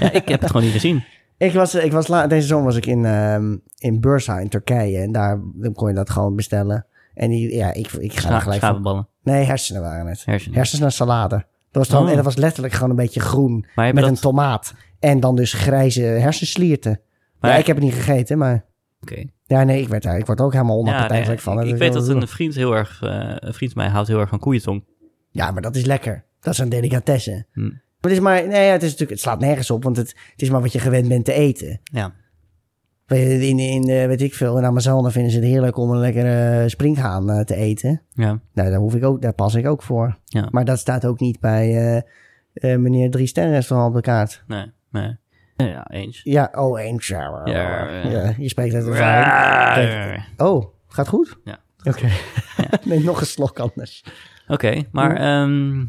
Speaker 1: ja, ik heb het gewoon niet gezien.
Speaker 2: Ik was, ik was la- deze zomer was ik in, ehm, in Bursa in Turkije. En daar dan kon je dat gewoon bestellen. En die, ja, ik, ik ga er
Speaker 1: Scha-
Speaker 2: gelijk van.
Speaker 1: schapenballen,
Speaker 2: Nee, hersenen waren het.
Speaker 1: hersenen.
Speaker 2: Hersens naar salade. Dat was dan,
Speaker 1: Oh.
Speaker 2: En dat was letterlijk gewoon een beetje groen.
Speaker 1: maar heb
Speaker 2: Met
Speaker 1: je dat...
Speaker 2: een tomaat. En dan dus grijze hersenslierten.
Speaker 1: Maar-
Speaker 2: ja, ik heb het niet gegeten, maar...
Speaker 1: Oké.
Speaker 2: Ja, nee, ik werd daar. Ik word ook helemaal onappetijtelijk
Speaker 1: Ja, nee,
Speaker 2: van.
Speaker 1: Ik,
Speaker 2: hè.
Speaker 1: ik
Speaker 2: Dat-
Speaker 1: weet dat een vriend heel erg, eh, een vriend van mij houdt heel erg van koeientong.
Speaker 2: Ja, maar dat is lekker. Dat is een delicatesse.
Speaker 1: Hm.
Speaker 2: Maar het is maar... Nee, ja, het, is natuurlijk, het slaat nergens op, want het, het is maar wat je gewend bent te eten.
Speaker 1: Ja.
Speaker 2: Weet je, In, in eh, weet ik veel, in Amazone vinden ze het heerlijk om een lekkere springhaan eh, te eten.
Speaker 1: Ja.
Speaker 2: Nou, daar, hoef ik ook, daar pas ik ook voor.
Speaker 1: Ja.
Speaker 2: Maar dat staat ook niet bij eh, eh, meneer Drie Sterren Restaurant op de kaart.
Speaker 1: Nee. Nee. Nee, Ja, eens.
Speaker 2: Ja, oh, één. Oh, Ja,
Speaker 1: ja.
Speaker 2: je spreekt uit ervaring.
Speaker 1: Oké,
Speaker 2: Oh, gaat goed?
Speaker 1: Ja.
Speaker 2: Oké. [LAUGHS] Neem nog een slok anders.
Speaker 1: maar
Speaker 2: Hm. [LAUGHS]
Speaker 1: ehm,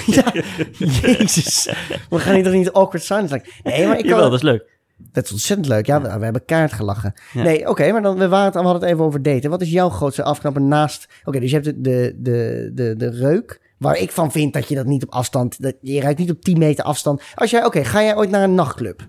Speaker 1: [LAUGHS]
Speaker 2: Jezus. We gaan hier toch niet awkward silence like. Nee, maar ik kan...
Speaker 1: jawel, dat is leuk.
Speaker 2: Dat is ontzettend leuk. Ja, we, we hebben kaart gelachen.
Speaker 1: Ja.
Speaker 2: Nee, oké, maar dan, we, waren het, we hadden het even over daten. Wat is jouw grootste afknapper naast... Oké, dus je hebt de, de, de, de, de reuk... Waar ik van vind dat je dat niet op afstand... Dat, je ruikt niet op 10 meter afstand. Als jij... Oké, ga jij ooit naar een nachtclub?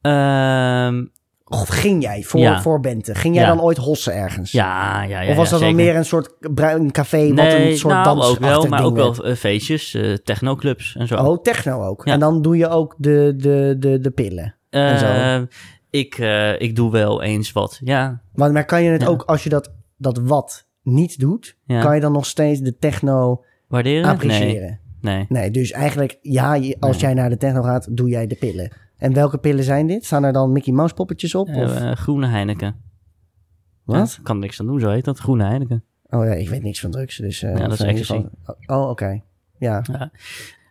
Speaker 1: Ehm,
Speaker 2: Of ging jij voor,
Speaker 1: Ja.
Speaker 2: voor Bente? Ging jij
Speaker 1: Ja.
Speaker 2: dan ooit hossen ergens?
Speaker 1: ja, ja, ja.
Speaker 2: of was
Speaker 1: ja,
Speaker 2: dat dan
Speaker 1: zeker.
Speaker 2: meer een soort bruin café... wat
Speaker 1: nee,
Speaker 2: een soort
Speaker 1: nou,
Speaker 2: dansachtig
Speaker 1: ook wel, maar
Speaker 2: ding
Speaker 1: ook
Speaker 2: werd?
Speaker 1: wel eh, feestjes, eh, technoclubs en zo.
Speaker 2: Oh, techno ook.
Speaker 1: Ja.
Speaker 2: En dan doe je ook de, de, de, de pillen. en zo.
Speaker 1: Ehm, ik, eh, ik doe wel eens wat, ja.
Speaker 2: Maar, maar kan je het
Speaker 1: Ja.
Speaker 2: ook, als je dat, dat wat niet doet,
Speaker 1: Ja.
Speaker 2: kan je dan nog steeds de techno
Speaker 1: Waarderen? Nee,
Speaker 2: appreciëren?
Speaker 1: nee.
Speaker 2: Nee, dus eigenlijk, ja, je- als jij naar de techno gaat, doe jij de pillen. En welke pillen zijn dit? Staan er dan Mickey Mouse poppetjes op? of
Speaker 1: Eh, eh, groene Heineken.
Speaker 2: wat?
Speaker 1: Ja, kan niks aan doen, zo heet dat. Groene Heineken.
Speaker 2: Oh ja, ik weet niks van drugs. Dus, eh,
Speaker 1: Ja, dat is
Speaker 2: in ieder geval- Oh, oké. Ja.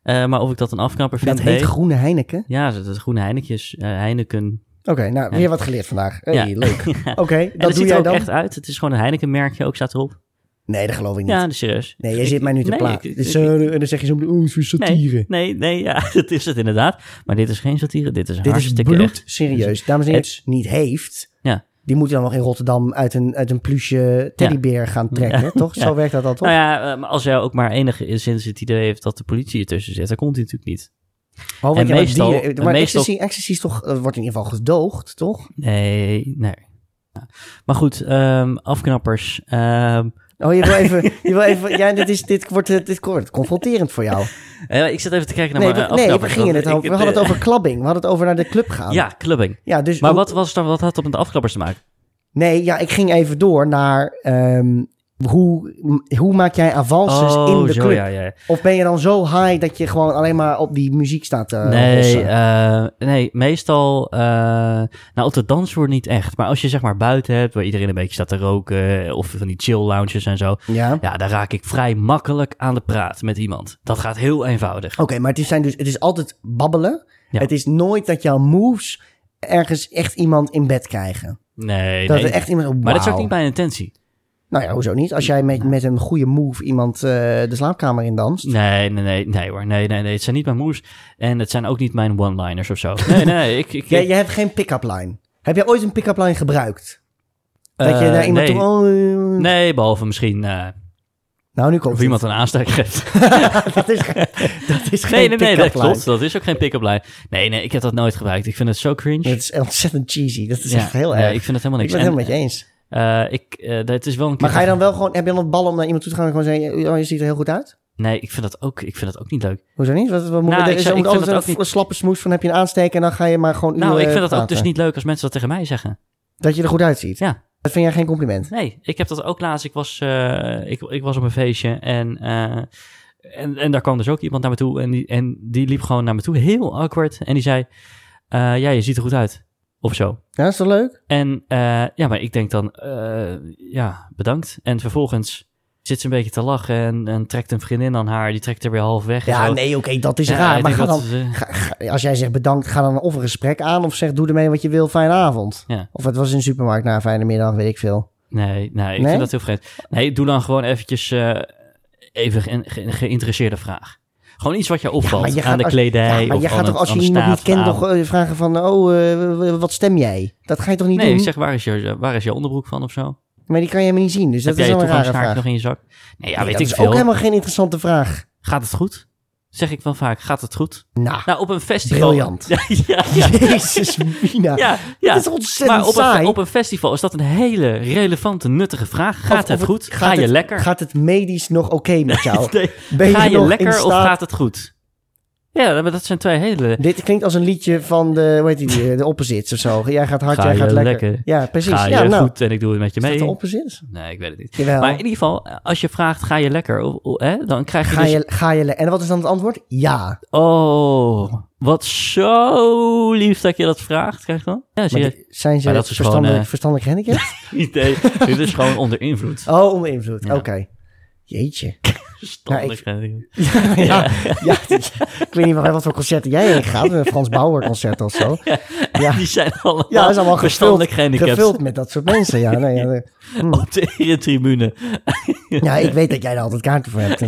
Speaker 1: Eh, maar of ik dat een afknapper vind?
Speaker 2: Dat heet
Speaker 1: nee.
Speaker 2: Groene Heineken.
Speaker 1: Ja, dat is groene Heinekjes, eh, Heineken.
Speaker 2: Oké, nou, weer wat geleerd vandaag. Hey,
Speaker 1: [LAUGHS] Ja.
Speaker 2: leuk. Oké,
Speaker 1: En
Speaker 2: dat
Speaker 1: dat
Speaker 2: doe
Speaker 1: ziet er
Speaker 2: jij
Speaker 1: ook
Speaker 2: dan?
Speaker 1: echt uit. Het is gewoon een Heineken-merkje, ook staat erop.
Speaker 2: Nee, dat geloof ik niet.
Speaker 1: Ja, dat is serieus.
Speaker 2: Nee, jij zit mij nu te
Speaker 1: nee,
Speaker 2: plaatsen.
Speaker 1: ik- ik-
Speaker 2: Dus, eh, en dan zeg je zo, oh, het is satire.
Speaker 1: Nee, nee, nee, ja, [LAUGHS] dat is het inderdaad. Maar dit is geen satire, dit is
Speaker 2: Dit is
Speaker 1: hartstikke Nou
Speaker 2: bloed
Speaker 1: echt.
Speaker 2: serieus. Dames en heren, het niet heeft.
Speaker 1: Ja.
Speaker 2: Die moeten dan nog in Rotterdam uit een, uit een plusje teddybeer gaan trekken, toch? Zo
Speaker 1: Ja.
Speaker 2: werkt dat al, toch?
Speaker 1: Nou ja, eh, maar als jij ook maar enige sinds het idee heeft dat de politie ertussen zit, dan komt hij natuurlijk niet.
Speaker 2: Oh, want
Speaker 1: en
Speaker 2: ja, maar
Speaker 1: meestal-
Speaker 2: dieren-
Speaker 1: en
Speaker 2: maar
Speaker 1: meestal-
Speaker 2: ecstasy, ecstasy is toch, eh, wordt in ieder geval gedoogd, toch?
Speaker 1: Nee, nee. Ja. Maar goed, ehm, afknappers. ehm,
Speaker 2: Oh, je wil
Speaker 1: [LAUGHS]
Speaker 2: even... je wil even ja, dit, is, dit, wordt, eh, dit wordt confronterend voor jou.
Speaker 1: eh, ik zit even te kijken naar
Speaker 2: Nee,
Speaker 1: mijn
Speaker 2: we,
Speaker 1: eh,
Speaker 2: nee, we
Speaker 1: afknappers,
Speaker 2: gingen
Speaker 1: want
Speaker 2: het over...
Speaker 1: ik-
Speaker 2: We hadden het
Speaker 1: eh,
Speaker 2: over klabbing. We hadden het over naar de club gaan.
Speaker 1: Ja, clubbing.
Speaker 2: Ja, dus...
Speaker 1: Maar
Speaker 2: hoe-
Speaker 1: wat, was dan, wat had dat met de afknappers te maken?
Speaker 2: Nee, ja, ik ging even door naar... ehm, hoe, hoe maak jij avances dus in de
Speaker 1: Oh, zo,
Speaker 2: club?
Speaker 1: ja, ja.
Speaker 2: Of ben je dan zo high dat je gewoon alleen maar op die muziek staat eh, te
Speaker 1: nee,
Speaker 2: hossen?
Speaker 1: eh, nee, meestal... eh, nou, op de dansvloer niet echt. Maar als je zeg maar buiten hebt, waar iedereen een beetje staat te roken... eh, of van die chill lounges en zo...
Speaker 2: Ja?
Speaker 1: Ja, daar raak ik vrij makkelijk aan de praat met iemand. Dat gaat heel eenvoudig.
Speaker 2: Oké, maar het is, zijn dus, het is altijd babbelen.
Speaker 1: Ja.
Speaker 2: Het is nooit dat jouw moves ergens echt iemand in bed krijgen.
Speaker 1: Nee,
Speaker 2: Dat
Speaker 1: nee.
Speaker 2: er echt iemand...
Speaker 1: Maar dat is ook
Speaker 2: wauw.
Speaker 1: niet mijn intentie.
Speaker 2: Nou ja, hoezo niet? Als jij met, met een goede move iemand eh, de slaapkamer in danst.
Speaker 1: Nee, nee, nee, nee hoor. Nee, nee, nee. Het zijn niet mijn moves. En het zijn ook niet mijn one-liners of zo. Nee, nee. Ik,
Speaker 2: [LAUGHS]
Speaker 1: ik,
Speaker 2: Jij, jij hebt geen pick-up line. Heb jij ooit een pick-up line gebruikt?
Speaker 1: eh,
Speaker 2: dat je naar iemand
Speaker 1: nee.
Speaker 2: toe... Oh, eh,
Speaker 1: Nee, behalve misschien eh,
Speaker 2: Nou, nu komt
Speaker 1: of
Speaker 2: het.
Speaker 1: iemand een aansteek
Speaker 2: [LAUGHS]
Speaker 1: geeft.
Speaker 2: dat is, geen- dat is geen
Speaker 1: Nee, nee, nee, dat
Speaker 2: pick-up line.
Speaker 1: klopt. Dat is ook geen pick-up line. Nee, nee, ik heb dat nooit gebruikt. Ik vind het zo cringe.
Speaker 2: Dat is ontzettend cheesy. Dat is
Speaker 1: Ja,
Speaker 2: echt heel
Speaker 1: nee,
Speaker 2: erg.
Speaker 1: ik vind het helemaal
Speaker 2: ik
Speaker 1: niks.
Speaker 2: ben het helemaal met
Speaker 1: En,
Speaker 2: je eens.
Speaker 1: eh, ik, eh, dat is wel een
Speaker 2: Maar
Speaker 1: keer-
Speaker 2: ga je dan wel gewoon... Heb je dan het bal om naar iemand toe te gaan en gewoon zeggen... Oh, je ziet er heel goed uit?
Speaker 1: Nee, ik vind dat ook, ik vind dat ook niet leuk.
Speaker 2: Hoezo niet? Wat, wat moet
Speaker 1: Nou,
Speaker 2: er
Speaker 1: ik
Speaker 2: is
Speaker 1: zou- ik
Speaker 2: altijd
Speaker 1: vind dat ook
Speaker 2: een
Speaker 1: niet-
Speaker 2: slappe smoes van heb je een aansteken en dan ga je maar gewoon
Speaker 1: Nou,
Speaker 2: uren
Speaker 1: ik vind dat ook
Speaker 2: eh, praten.
Speaker 1: dus niet leuk als mensen dat tegen mij zeggen.
Speaker 2: Dat je er goed uitziet.
Speaker 1: Ja.
Speaker 2: Dat vind jij geen compliment.
Speaker 1: Nee, ik heb dat ook laatst. Ik was, eh, ik, ik was op een feestje en, eh, en, en daar kwam dus ook iemand naar me toe. En die, en die liep gewoon naar me toe, heel awkward. En die zei, eh, ja, je ziet er goed uit. Of zo.
Speaker 2: Ja, is dat leuk?
Speaker 1: En eh, ja, maar ik denk dan, eh, ja, bedankt. En vervolgens zit ze een beetje te lachen en, en trekt een vriendin aan haar. Die trekt er weer half weg. en
Speaker 2: Ja,
Speaker 1: zo.
Speaker 2: nee, oké, dat is
Speaker 1: Ja,
Speaker 2: raar.
Speaker 1: ik
Speaker 2: Maar
Speaker 1: denk
Speaker 2: ga
Speaker 1: dat
Speaker 2: dan,
Speaker 1: ze-
Speaker 2: ga- ga- als jij zegt bedankt, ga dan of een gesprek aan of zeg doe ermee wat je wil, fijne avond.
Speaker 1: Ja.
Speaker 2: Of het was in de supermarkt na een fijne middag, weet ik veel.
Speaker 1: Nee, nee, ik
Speaker 2: Nee?
Speaker 1: vind dat heel vreemd. Nee, doe dan gewoon eventjes eh, even een ge- geïnteresseerde vraag. Gewoon iets wat je opvalt
Speaker 2: maar je gaat
Speaker 1: aan de
Speaker 2: als-
Speaker 1: kledij
Speaker 2: ja, maar
Speaker 1: of
Speaker 2: je gaat
Speaker 1: aan
Speaker 2: toch
Speaker 1: het-
Speaker 2: als
Speaker 1: aan
Speaker 2: je
Speaker 1: de
Speaker 2: iemand niet
Speaker 1: staat
Speaker 2: kent
Speaker 1: van
Speaker 2: nog eh, vragen van, oh, eh, wat stem jij? Dat ga je toch niet
Speaker 1: Nee,
Speaker 2: doen?
Speaker 1: ik zeg, waar is, je, waar is je onderbroek van of zo?
Speaker 2: Maar die kan je helemaal niet zien, dus dat
Speaker 1: Heb
Speaker 2: is
Speaker 1: jij
Speaker 2: wel
Speaker 1: je
Speaker 2: een rare
Speaker 1: toegangskaartje nog
Speaker 2: vraag.
Speaker 1: in je zak? Nee, ja,
Speaker 2: Nee,
Speaker 1: weet
Speaker 2: dat
Speaker 1: ik
Speaker 2: is
Speaker 1: veel.
Speaker 2: ook helemaal geen interessante vraag.
Speaker 1: Gaat het goed? Zeg ik wel vaak, gaat het goed?
Speaker 2: Nou,
Speaker 1: Nou, op een festival...
Speaker 2: Briljant.
Speaker 1: [LAUGHS] Ja,
Speaker 2: [LAUGHS]
Speaker 1: ja, ja.
Speaker 2: jezus mina.
Speaker 1: ja,
Speaker 2: [LAUGHS] Dat
Speaker 1: ja.
Speaker 2: is ontzettend
Speaker 1: maar op
Speaker 2: saai.
Speaker 1: een, op een festival is dat een hele relevante, nuttige vraag. Gaat
Speaker 2: Of-
Speaker 1: het
Speaker 2: of
Speaker 1: goed?
Speaker 2: gaat
Speaker 1: Ga je
Speaker 2: het-
Speaker 1: lekker?
Speaker 2: Gaat het medisch nog oké
Speaker 1: [LAUGHS]
Speaker 2: met jou?
Speaker 1: Nee.
Speaker 2: Ben je
Speaker 1: Ga je
Speaker 2: nog
Speaker 1: lekker
Speaker 2: in
Speaker 1: of
Speaker 2: staat-
Speaker 1: gaat het goed? Ja, maar dat zijn twee hele...
Speaker 2: Dit klinkt als een liedje van de, hoe heet die, eh, de Opposites of zo. Jij gaat hard,
Speaker 1: Ga
Speaker 2: jij
Speaker 1: je
Speaker 2: gaat lekker.
Speaker 1: lekker?
Speaker 2: Ja, precies.
Speaker 1: Ga je
Speaker 2: ja, nou,
Speaker 1: goed en ik doe het met je
Speaker 2: is dat
Speaker 1: mee.
Speaker 2: de Opposites?
Speaker 1: Nee, ik weet het niet.
Speaker 2: Jawel.
Speaker 1: Maar in ieder geval, als je vraagt, ga je lekker? Of- of- hè, dan krijg je
Speaker 2: Ga
Speaker 1: dus...
Speaker 2: je, ga je le- en wat is dan het antwoord? Ja.
Speaker 1: Oh, wat zo lief dat je dat vraagt. Krijg je dan? Ja, zie
Speaker 2: Maar
Speaker 1: je.
Speaker 2: die- zijn ze
Speaker 1: Maar dat is gewoon,
Speaker 2: verstandelijk,
Speaker 1: eh,
Speaker 2: verstandelijk handicap?
Speaker 1: [LAUGHS] Idee. Dit is gewoon onder
Speaker 2: [LAUGHS]
Speaker 1: invloed.
Speaker 2: Oh, onder invloed. Oké.
Speaker 1: [LAUGHS]
Speaker 2: Jeetje.
Speaker 1: Verstandig.
Speaker 2: ja, ja, ik weet niet wat, wat voor concerten jij heen gaat. Een Frans Bauer concert of zo. Ja,
Speaker 1: Die zijn allemaal,
Speaker 2: ja dat is allemaal
Speaker 1: verstandig
Speaker 2: gevuld,
Speaker 1: gehandicapt
Speaker 2: gevuld met dat soort mensen. Ja, nee, ja, nee.
Speaker 1: [LAUGHS] op de eretribune.
Speaker 2: ja, ik weet dat jij daar altijd kaarten voor hebt.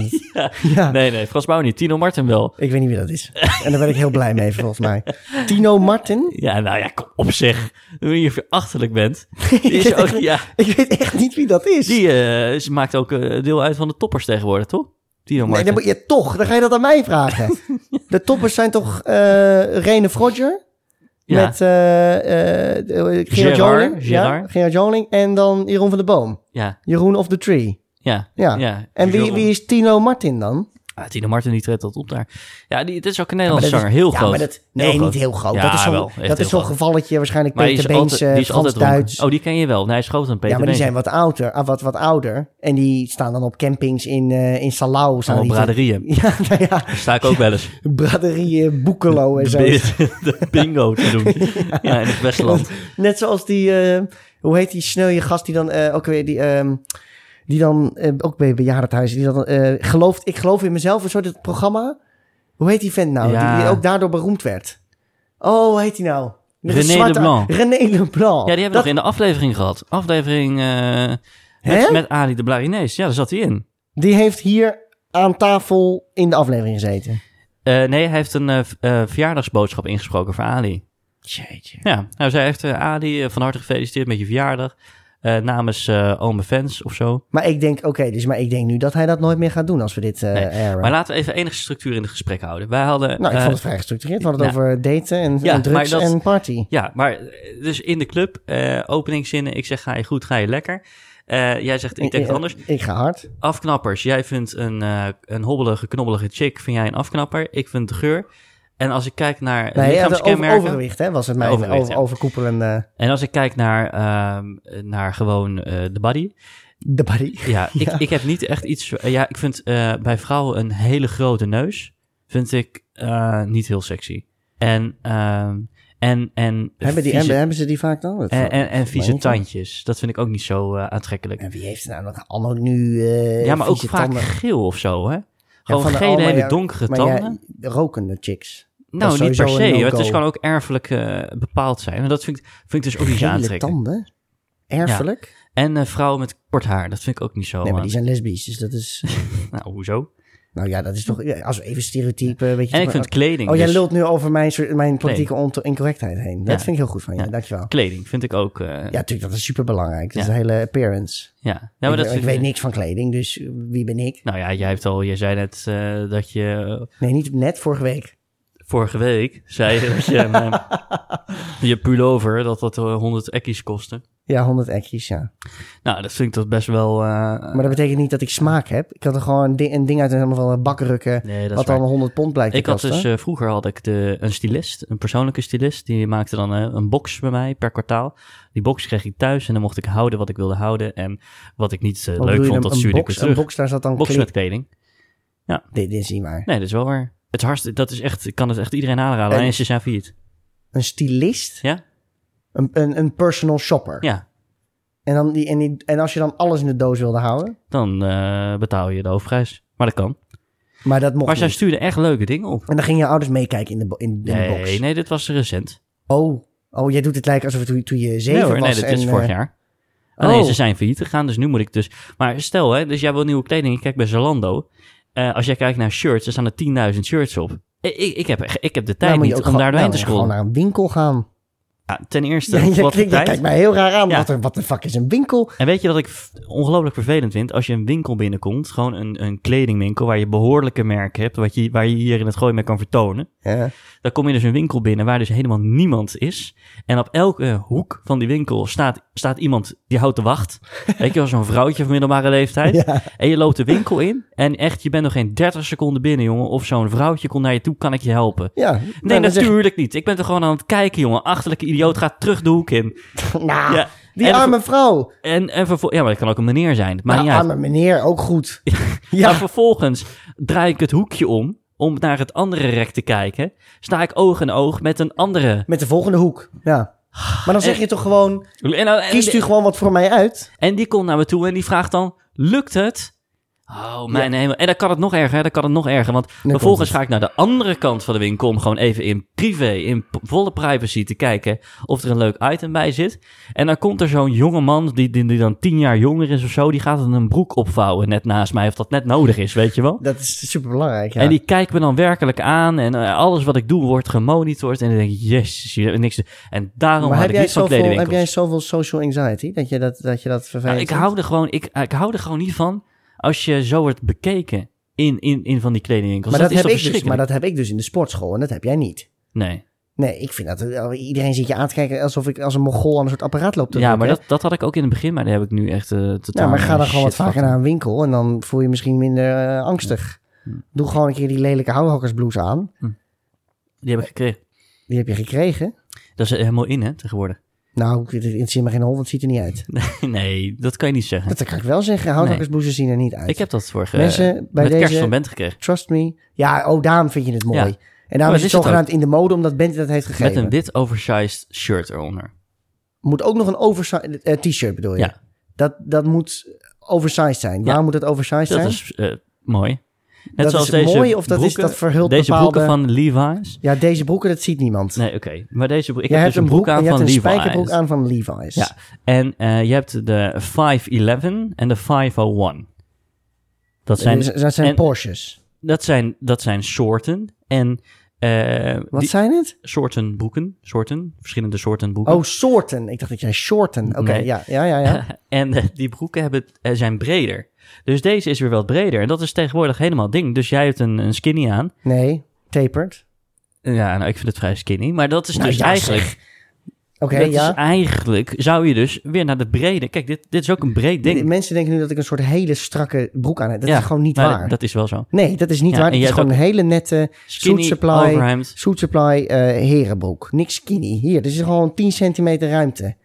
Speaker 2: ja.
Speaker 1: Nee, nee, Frans Bouw niet. Tino Martin wel.
Speaker 2: Ik weet niet wie dat is. En daar ben ik heel blij mee, volgens mij. Tino Martin?
Speaker 1: Ja, nou ja, kom op zeg. Ik weet niet of je achterlijk
Speaker 2: [LAUGHS]
Speaker 1: bent. Die is
Speaker 2: weet
Speaker 1: ook,
Speaker 2: het
Speaker 1: ja,
Speaker 2: Ik weet echt niet wie dat is.
Speaker 1: die eh, ze maakt ook eh, deel uit van de toppers tegenwoordig, toch? Tino
Speaker 2: nee,
Speaker 1: Martin.
Speaker 2: dan moet je toch, dan ga je dat aan
Speaker 1: [LAUGHS]
Speaker 2: mij vragen. De toppers zijn toch eh Rene Froger?
Speaker 1: Ja.
Speaker 2: Met eh eh Gerard,
Speaker 1: Gerard,
Speaker 2: Joling. Ja,
Speaker 1: Gerard.
Speaker 2: Gerard Joling. En dan Jeroen van de Boom.
Speaker 1: Ja,
Speaker 2: Jeroen of the Tree.
Speaker 1: ja,
Speaker 2: Ja.
Speaker 1: ja.
Speaker 2: En wie,
Speaker 1: Jeroen.
Speaker 2: wie is Tino Martin dan?
Speaker 1: Ah, Tino Martin die treedt dat op daar. Ja, die, het is ook een Nederlandse
Speaker 2: dat is-
Speaker 1: zanger. Heel
Speaker 2: ja,
Speaker 1: groot.
Speaker 2: Maar dat, nee,
Speaker 1: Heel groot.
Speaker 2: niet heel groot.
Speaker 1: Ja,
Speaker 2: dat is
Speaker 1: wel,
Speaker 2: zo'n
Speaker 1: echt
Speaker 2: dat is
Speaker 1: heel
Speaker 2: zo'n
Speaker 1: groot.
Speaker 2: gevalletje waarschijnlijk
Speaker 1: Maar die
Speaker 2: Peter
Speaker 1: is
Speaker 2: Beens,
Speaker 1: altijd, die
Speaker 2: eh
Speaker 1: is
Speaker 2: Frans
Speaker 1: altijd
Speaker 2: Duits.
Speaker 1: Duits. Oh, die ken je wel. Nee, hij is groter dan Peter
Speaker 2: Ja, maar die
Speaker 1: Beens.
Speaker 2: zijn wat ouder, ah, wat, wat ouder. En die staan dan op campings in, eh in Salau. Staan
Speaker 1: Allemaal
Speaker 2: die te-
Speaker 1: braderieën.
Speaker 2: [LAUGHS] Ja, nou ja,
Speaker 1: Daar Oh, [LAUGHS] sta ik ook wel eens.
Speaker 2: braderieën, Boekelo en [LAUGHS]
Speaker 1: [LAUGHS]
Speaker 2: zo.
Speaker 1: De, de bingo te
Speaker 2: [LAUGHS]
Speaker 1: doen. ja. in het Westland.
Speaker 2: Net zoals die, eh, hoe heet die sneuwe gast die dan eh, ook weer, die, ehm, die dan eh, ook bij bejaardenhuizen, die dan eh, gelooft, ik geloof in mezelf, een soort het programma. Hoe heet die vent nou?
Speaker 1: Ja.
Speaker 2: Die, die ook daardoor beroemd werd. Oh, hoe heet die nou? Met een
Speaker 1: René
Speaker 2: zwarte-
Speaker 1: Leblanc.
Speaker 2: René Leblanc.
Speaker 1: Ja, die hebben we nog in de aflevering gehad. Aflevering eh,
Speaker 2: Hè?
Speaker 1: met, met Ali de Blarinees. Ja, daar zat hij in.
Speaker 2: Die heeft hier aan tafel in de aflevering gezeten.
Speaker 1: Eh, nee, hij heeft een eh, v- eh, verjaardagsboodschap ingesproken voor Ali.
Speaker 2: Jeetje.
Speaker 1: Ja, nou, zij heeft eh, Ali eh, van harte gefeliciteerd met je verjaardag. eh, namens eh al mijn fans of zo.
Speaker 2: Maar ik denk, oké, dus maar ik denk nu dat hij dat nooit meer gaat doen als we dit eh
Speaker 1: Nee,
Speaker 2: airen.
Speaker 1: Maar laten we even enige structuur in het gesprek houden. Wij hadden.
Speaker 2: nou, ik
Speaker 1: eh,
Speaker 2: vond het vrij gestructureerd. We hadden het
Speaker 1: nou,
Speaker 2: over daten en,
Speaker 1: ja,
Speaker 2: en drugs
Speaker 1: maar dat-
Speaker 2: en party.
Speaker 1: Ja, maar eh, dus in de club, eh, openingszinnen. Ik zeg ga je goed, ga je lekker. Eh, jij zegt ik denk het anders.
Speaker 2: Ik ga hard.
Speaker 1: Afknappers. Jij vindt een, eh, een hobbelige, knobbelige chick. Vind jij een afknapper? Ik vind de geur. En als ik kijk naar
Speaker 2: Nee, ja, de over,
Speaker 1: lichaamskenmerken.
Speaker 2: overgewicht hè, was het mijn
Speaker 1: Overgewicht,
Speaker 2: over,
Speaker 1: ja.
Speaker 2: overkoepelende...
Speaker 1: en als ik kijk naar, ehm, naar gewoon eh, de body.
Speaker 2: De Barry. [LAUGHS]
Speaker 1: Ja, ik, ik heb niet echt iets... Ja, ik vind eh, bij vrouwen een hele grote neus... vind ik eh, niet heel sexy. En... ehm, en, en
Speaker 2: Hebben, die,
Speaker 1: vieze- Eh,
Speaker 2: hebben, hebben ze die vaak dan? Dat-
Speaker 1: en, en, en
Speaker 2: dat-
Speaker 1: vieze
Speaker 2: dat-
Speaker 1: tandjes. Dat vind ik ook niet zo eh, aantrekkelijk.
Speaker 2: En wie heeft er nou nog allemaal nu eh
Speaker 1: ja, maar ook
Speaker 2: vieze
Speaker 1: vaak
Speaker 2: tanden?
Speaker 1: geel of zo, hè?
Speaker 2: Ja,
Speaker 1: Gewoon
Speaker 2: van de-
Speaker 1: gele,
Speaker 2: oh, maar
Speaker 1: hele
Speaker 2: ja,
Speaker 1: donkere
Speaker 2: maar
Speaker 1: tanden.
Speaker 2: ja, de rokende chicks.
Speaker 1: nou,
Speaker 2: is
Speaker 1: niet per
Speaker 2: sowieso
Speaker 1: se.
Speaker 2: een
Speaker 1: hoor. Het
Speaker 2: no-go.
Speaker 1: is gewoon ook erfelijk eh, bepaald zijn. En dat vind ik, vind ik dus ook niet zo
Speaker 2: Gele
Speaker 1: aantrekkelijk.
Speaker 2: tanden? Erfelijk?
Speaker 1: En eh, vrouwen met kort haar, dat vind ik ook niet zo.
Speaker 2: nee, maar die
Speaker 1: aan-
Speaker 2: zijn lesbisch, dus dat is...
Speaker 1: Nou, hoezo?
Speaker 2: Nou ja, dat is toch... ja, Als we even stereotypen, weet je...
Speaker 1: En ik
Speaker 2: toch-
Speaker 1: vind kleding.
Speaker 2: Oh, jij
Speaker 1: dus-
Speaker 2: lult nu over mijn, soort- mijn politieke onto- incorrectheid heen. Dat
Speaker 1: Ja.
Speaker 2: vind ik heel goed van je,
Speaker 1: Ja.
Speaker 2: dankjewel.
Speaker 1: Kleding vind ik ook. eh, ja.
Speaker 2: Ja, natuurlijk, dat is superbelangrijk. Dat is
Speaker 1: Ja.
Speaker 2: de hele appearance.
Speaker 1: ja. Nou, maar
Speaker 2: ik
Speaker 1: dat
Speaker 2: ik
Speaker 1: vind
Speaker 2: weet niks van kleding, dus wie ben ik?
Speaker 1: Nou ja, jij hebt al, jij zei net eh, dat je
Speaker 2: Nee, niet net vorige week.
Speaker 1: vorige week zei je
Speaker 2: [LAUGHS]
Speaker 1: dat je, eh, je pullover dat dat eh, 100 ekkies kostte.
Speaker 2: Ja, 100 ekjes, ja.
Speaker 1: Nou, dat vind ik dat best wel. eh,
Speaker 2: Maar dat betekent niet dat ik smaak heb. Ik kan er gewoon een ding, een ding uit een helemaal van een bak rukken.
Speaker 1: nee, dat is
Speaker 2: wat
Speaker 1: waar.
Speaker 2: dan 100 pond blijkt te
Speaker 1: Ik had
Speaker 2: kosten.
Speaker 1: dus, eh, vroeger had ik de, een stylist, een persoonlijke stylist, die maakte dan eh, een box bij mij per kwartaal. Die box kreeg ik thuis en dan mocht ik houden wat ik wilde houden en wat ik niet eh,
Speaker 2: Wat
Speaker 1: leuk
Speaker 2: bedoel je
Speaker 1: vond,
Speaker 2: dan,
Speaker 1: dat
Speaker 2: een
Speaker 1: stuurde ik weer
Speaker 2: box, Een
Speaker 1: terug.
Speaker 2: box, daar zat dan
Speaker 1: Box
Speaker 2: kleding.
Speaker 1: met kleding.
Speaker 2: Dit, dit is niet waar.
Speaker 1: Nee, dat is wel waar. Het is hartstikke, dat is echt, ik kan het echt iedereen aanraden,
Speaker 2: En-
Speaker 1: en ze zijn failliet.
Speaker 2: Een stylist?
Speaker 1: Ja?
Speaker 2: Een, een, een personal shopper?
Speaker 1: Ja,
Speaker 2: En, dan die, en, die, en als je dan alles in de doos wilde houden?
Speaker 1: dan eh, betaal je de hoofdprijs. Maar dat kan.
Speaker 2: Maar dat mocht
Speaker 1: Maar zij
Speaker 2: niet.
Speaker 1: stuurde echt leuke dingen op.
Speaker 2: En dan gingen je ouders meekijken in de, bo- in, in de box.
Speaker 1: Nee, nee, dit was recent.
Speaker 2: Oh, oh, jij doet het lijken alsof het toen, toen je zeven
Speaker 1: nee hoor,
Speaker 2: was.
Speaker 1: nee, dat
Speaker 2: en,
Speaker 1: is
Speaker 2: eh,
Speaker 1: vorig jaar. Alleen
Speaker 2: oh.
Speaker 1: ze zijn failliet gegaan, dus nu moet ik dus... Maar stel, hè, dus jij wil nieuwe kleding. Ik kijk bij Zalando. Eh, als jij kijkt naar shirts, er staan er 10.000 shirts op. Ik, ik, ik, heb, ik heb de tijd
Speaker 2: nou, moet je
Speaker 1: niet om
Speaker 2: ook gewoon-
Speaker 1: daar doorheen
Speaker 2: nou,
Speaker 1: te
Speaker 2: ja, Gewoon
Speaker 1: scrollen.
Speaker 2: naar een winkel gaan.
Speaker 1: Ja,
Speaker 2: [LAUGHS]
Speaker 1: ten eerste,
Speaker 2: Ja, je,
Speaker 1: wat
Speaker 2: klinkt-
Speaker 1: de
Speaker 2: je
Speaker 1: tijd.
Speaker 2: kijkt mij heel raar aan.
Speaker 1: Ja.
Speaker 2: Wat, er- wat de fuck is een winkel?
Speaker 1: En weet je wat ik f- ongelooflijk vervelend vind? Als je een winkel binnenkomt, gewoon een, een kledingwinkel... waar je behoorlijke merken hebt, wat je, waar je hier in het gooi mee kan vertonen.
Speaker 2: Ja.
Speaker 1: Dan kom je dus een winkel binnen waar dus helemaal niemand is. En op elke hoek van die winkel staat, staat iemand die houdt de
Speaker 2: [LAUGHS]
Speaker 1: wacht. Weet je wel, zo'n vrouwtje van middelbare leeftijd. En je loopt de winkel in en echt, je bent nog geen 30 seconden binnen, jongen. Of zo'n vrouwtje komt naar je toe, kan ik je helpen?
Speaker 2: ja.
Speaker 1: Nee,
Speaker 2: Nou, dan zeg-
Speaker 1: natuurlijk niet. Ik ben er gewoon aan het kijken, jongen. Achterlijke idioot gaat terug de hoek in.
Speaker 2: Nou,
Speaker 1: Ja.
Speaker 2: die
Speaker 1: en,
Speaker 2: arme vrouw.
Speaker 1: En, en vervol- ja, maar dat kan ook een meneer zijn. Maar
Speaker 2: Nou,
Speaker 1: niet uit.
Speaker 2: arme meneer, ook goed.
Speaker 1: Maar
Speaker 2: [LAUGHS] Ja,
Speaker 1: vervolgens draai ik het hoekje om, om naar het andere rek te kijken. Sta ik oog in oog met een andere.
Speaker 2: met de volgende hoek. Ja. Maar dan zeg je toch gewoon,
Speaker 1: En, nou- en-
Speaker 2: kiest u gewoon wat voor mij uit.
Speaker 1: En die komt naar me toe en die vraagt dan: lukt het? Oh, mijn hemel. En dan kan het nog erger, hè? dan kan het nog erger. Want
Speaker 2: komt
Speaker 1: vervolgens
Speaker 2: het.
Speaker 1: ga ik naar de andere kant van de winkel om gewoon even in privé, in p- volle privacy te kijken of er een leuk item bij zit. En dan komt er zo'n jonge man, die, die, die dan tien jaar jonger is of zo, die gaat dan een broek opvouwen net naast mij, of dat net nodig is, weet je wel.
Speaker 2: Dat is superbelangrijk, ja.
Speaker 1: En die kijkt me dan werkelijk aan en eh, alles wat ik doe wordt gemonitord. En dan denk ik, jezus, jullie hebben niks te- En daarom
Speaker 2: maar
Speaker 1: had
Speaker 2: heb
Speaker 1: ik
Speaker 2: jij,
Speaker 1: niet van
Speaker 2: zoveel,
Speaker 1: kledingwinkels.
Speaker 2: heb jij zoveel social anxiety dat je dat, dat, je dat
Speaker 1: Ja,
Speaker 2: vervelend
Speaker 1: ik,
Speaker 2: vindt?
Speaker 1: hou er gewoon, ik, ik hou er gewoon niet van als je zo wordt bekeken in, in, in van die kledingwinkels.
Speaker 2: maar dat,
Speaker 1: dat, is toch
Speaker 2: heb ik dus, maar
Speaker 1: verschrikkelijk?
Speaker 2: dat heb ik dus in de sportschool en dat heb jij niet.
Speaker 1: Nee.
Speaker 2: Nee, ik vind dat eh, iedereen zit je aan te kijken alsof ik als een mogol aan een soort apparaat loop te
Speaker 1: Ja,
Speaker 2: drukken.
Speaker 1: maar dat, dat had ik ook in het begin, maar daar heb ik nu echt eh totaal
Speaker 2: Nou, maar ga dan
Speaker 1: geen
Speaker 2: gewoon wat
Speaker 1: shit
Speaker 2: vaker
Speaker 1: van.
Speaker 2: naar een winkel en dan voel je je misschien minder eh, angstig.
Speaker 1: Hm.
Speaker 2: Doe gewoon een keer die lelijke houhakkersblouse aan.
Speaker 1: Die heb ik gekregen.
Speaker 2: Die heb je gekregen.
Speaker 1: Dat is er helemaal in, hè, tegenwoordig. [LAUGHS]
Speaker 2: Nou, het interesseert me geen hol, want het ziet er niet uit.
Speaker 1: Nee, dat kan je niet zeggen.
Speaker 2: Dat kan ik wel zeggen. Houthakkersbloeses zien er niet uit.
Speaker 1: Ik heb dat vorige
Speaker 2: Mensen, bij
Speaker 1: met kerst
Speaker 2: deze-
Speaker 1: van Bent gekregen.
Speaker 2: Trust me. Ja, oh, daarom vind je het mooi.
Speaker 1: Ja.
Speaker 2: En
Speaker 1: Maar
Speaker 2: daarom is
Speaker 1: is
Speaker 2: het
Speaker 1: het
Speaker 2: zogenaamd in de mode, omdat Bente dat heeft gegeven.
Speaker 1: Met een wit oversized shirt eronder.
Speaker 2: Moet ook nog een oversized eh, t-shirt bedoel je?
Speaker 1: Ja.
Speaker 2: Dat, dat moet oversized zijn. Waarom moet het oversized
Speaker 1: Dat
Speaker 2: zijn?
Speaker 1: is eh, mooi. Net
Speaker 2: Dat
Speaker 1: zoals
Speaker 2: is
Speaker 1: deze
Speaker 2: mooi of dat is-
Speaker 1: broeken,
Speaker 2: dat verhult
Speaker 1: Deze broeken
Speaker 2: bepaalde-
Speaker 1: van Levi's.
Speaker 2: Ja, deze broeken, dat ziet niemand.
Speaker 1: Nee, oké. Maar deze broek, ik
Speaker 2: Jij
Speaker 1: heb
Speaker 2: hebt
Speaker 1: dus een broek,
Speaker 2: en
Speaker 1: aan
Speaker 2: je
Speaker 1: van
Speaker 2: hebt een
Speaker 1: Levi's.
Speaker 2: spijkerbroek aan van Levi's.
Speaker 1: Ja, en eh, je hebt de 511 en de 501. Dat zijn,
Speaker 2: dat zijn, dat zijn
Speaker 1: en-
Speaker 2: Porsches.
Speaker 1: dat zijn, dat zijn soorten. En eh,
Speaker 2: Wat
Speaker 1: die-
Speaker 2: zijn het?
Speaker 1: soorten boeken, soorten, verschillende soorten boeken.
Speaker 2: Oh, soorten. Ik dacht dat jij shorten. Oké,
Speaker 1: Nee.
Speaker 2: ja, ja, ja. ja.
Speaker 1: [LAUGHS] En eh, die broeken hebben, eh, zijn breder. Dus deze is weer wat breder. En dat is tegenwoordig helemaal ding. Dus jij hebt een, een skinny aan.
Speaker 2: Nee, tapered.
Speaker 1: Ja, nou, ik vind het vrij skinny. Maar dat is
Speaker 2: Nou
Speaker 1: dus
Speaker 2: ja,
Speaker 1: eigenlijk...
Speaker 2: Oké,
Speaker 1: dat
Speaker 2: ja.
Speaker 1: is eigenlijk... Zou je dus weer naar de brede... Kijk, dit, dit is ook een breed ding.
Speaker 2: De Mensen denken nu dat ik een soort hele strakke broek aan heb. Dat
Speaker 1: Ja,
Speaker 2: is gewoon niet
Speaker 1: maar
Speaker 2: waar.
Speaker 1: Dat is wel zo.
Speaker 2: nee, dat is niet
Speaker 1: Ja,
Speaker 2: waar.
Speaker 1: en
Speaker 2: Het is
Speaker 1: jij
Speaker 2: gewoon een hele nette
Speaker 1: Skinny,
Speaker 2: suit supply,
Speaker 1: overhemd. [LAUGHS]
Speaker 2: suit supply eh, herenbroek. Niks skinny. Hier, dit is gewoon 10 centimeter ruimte.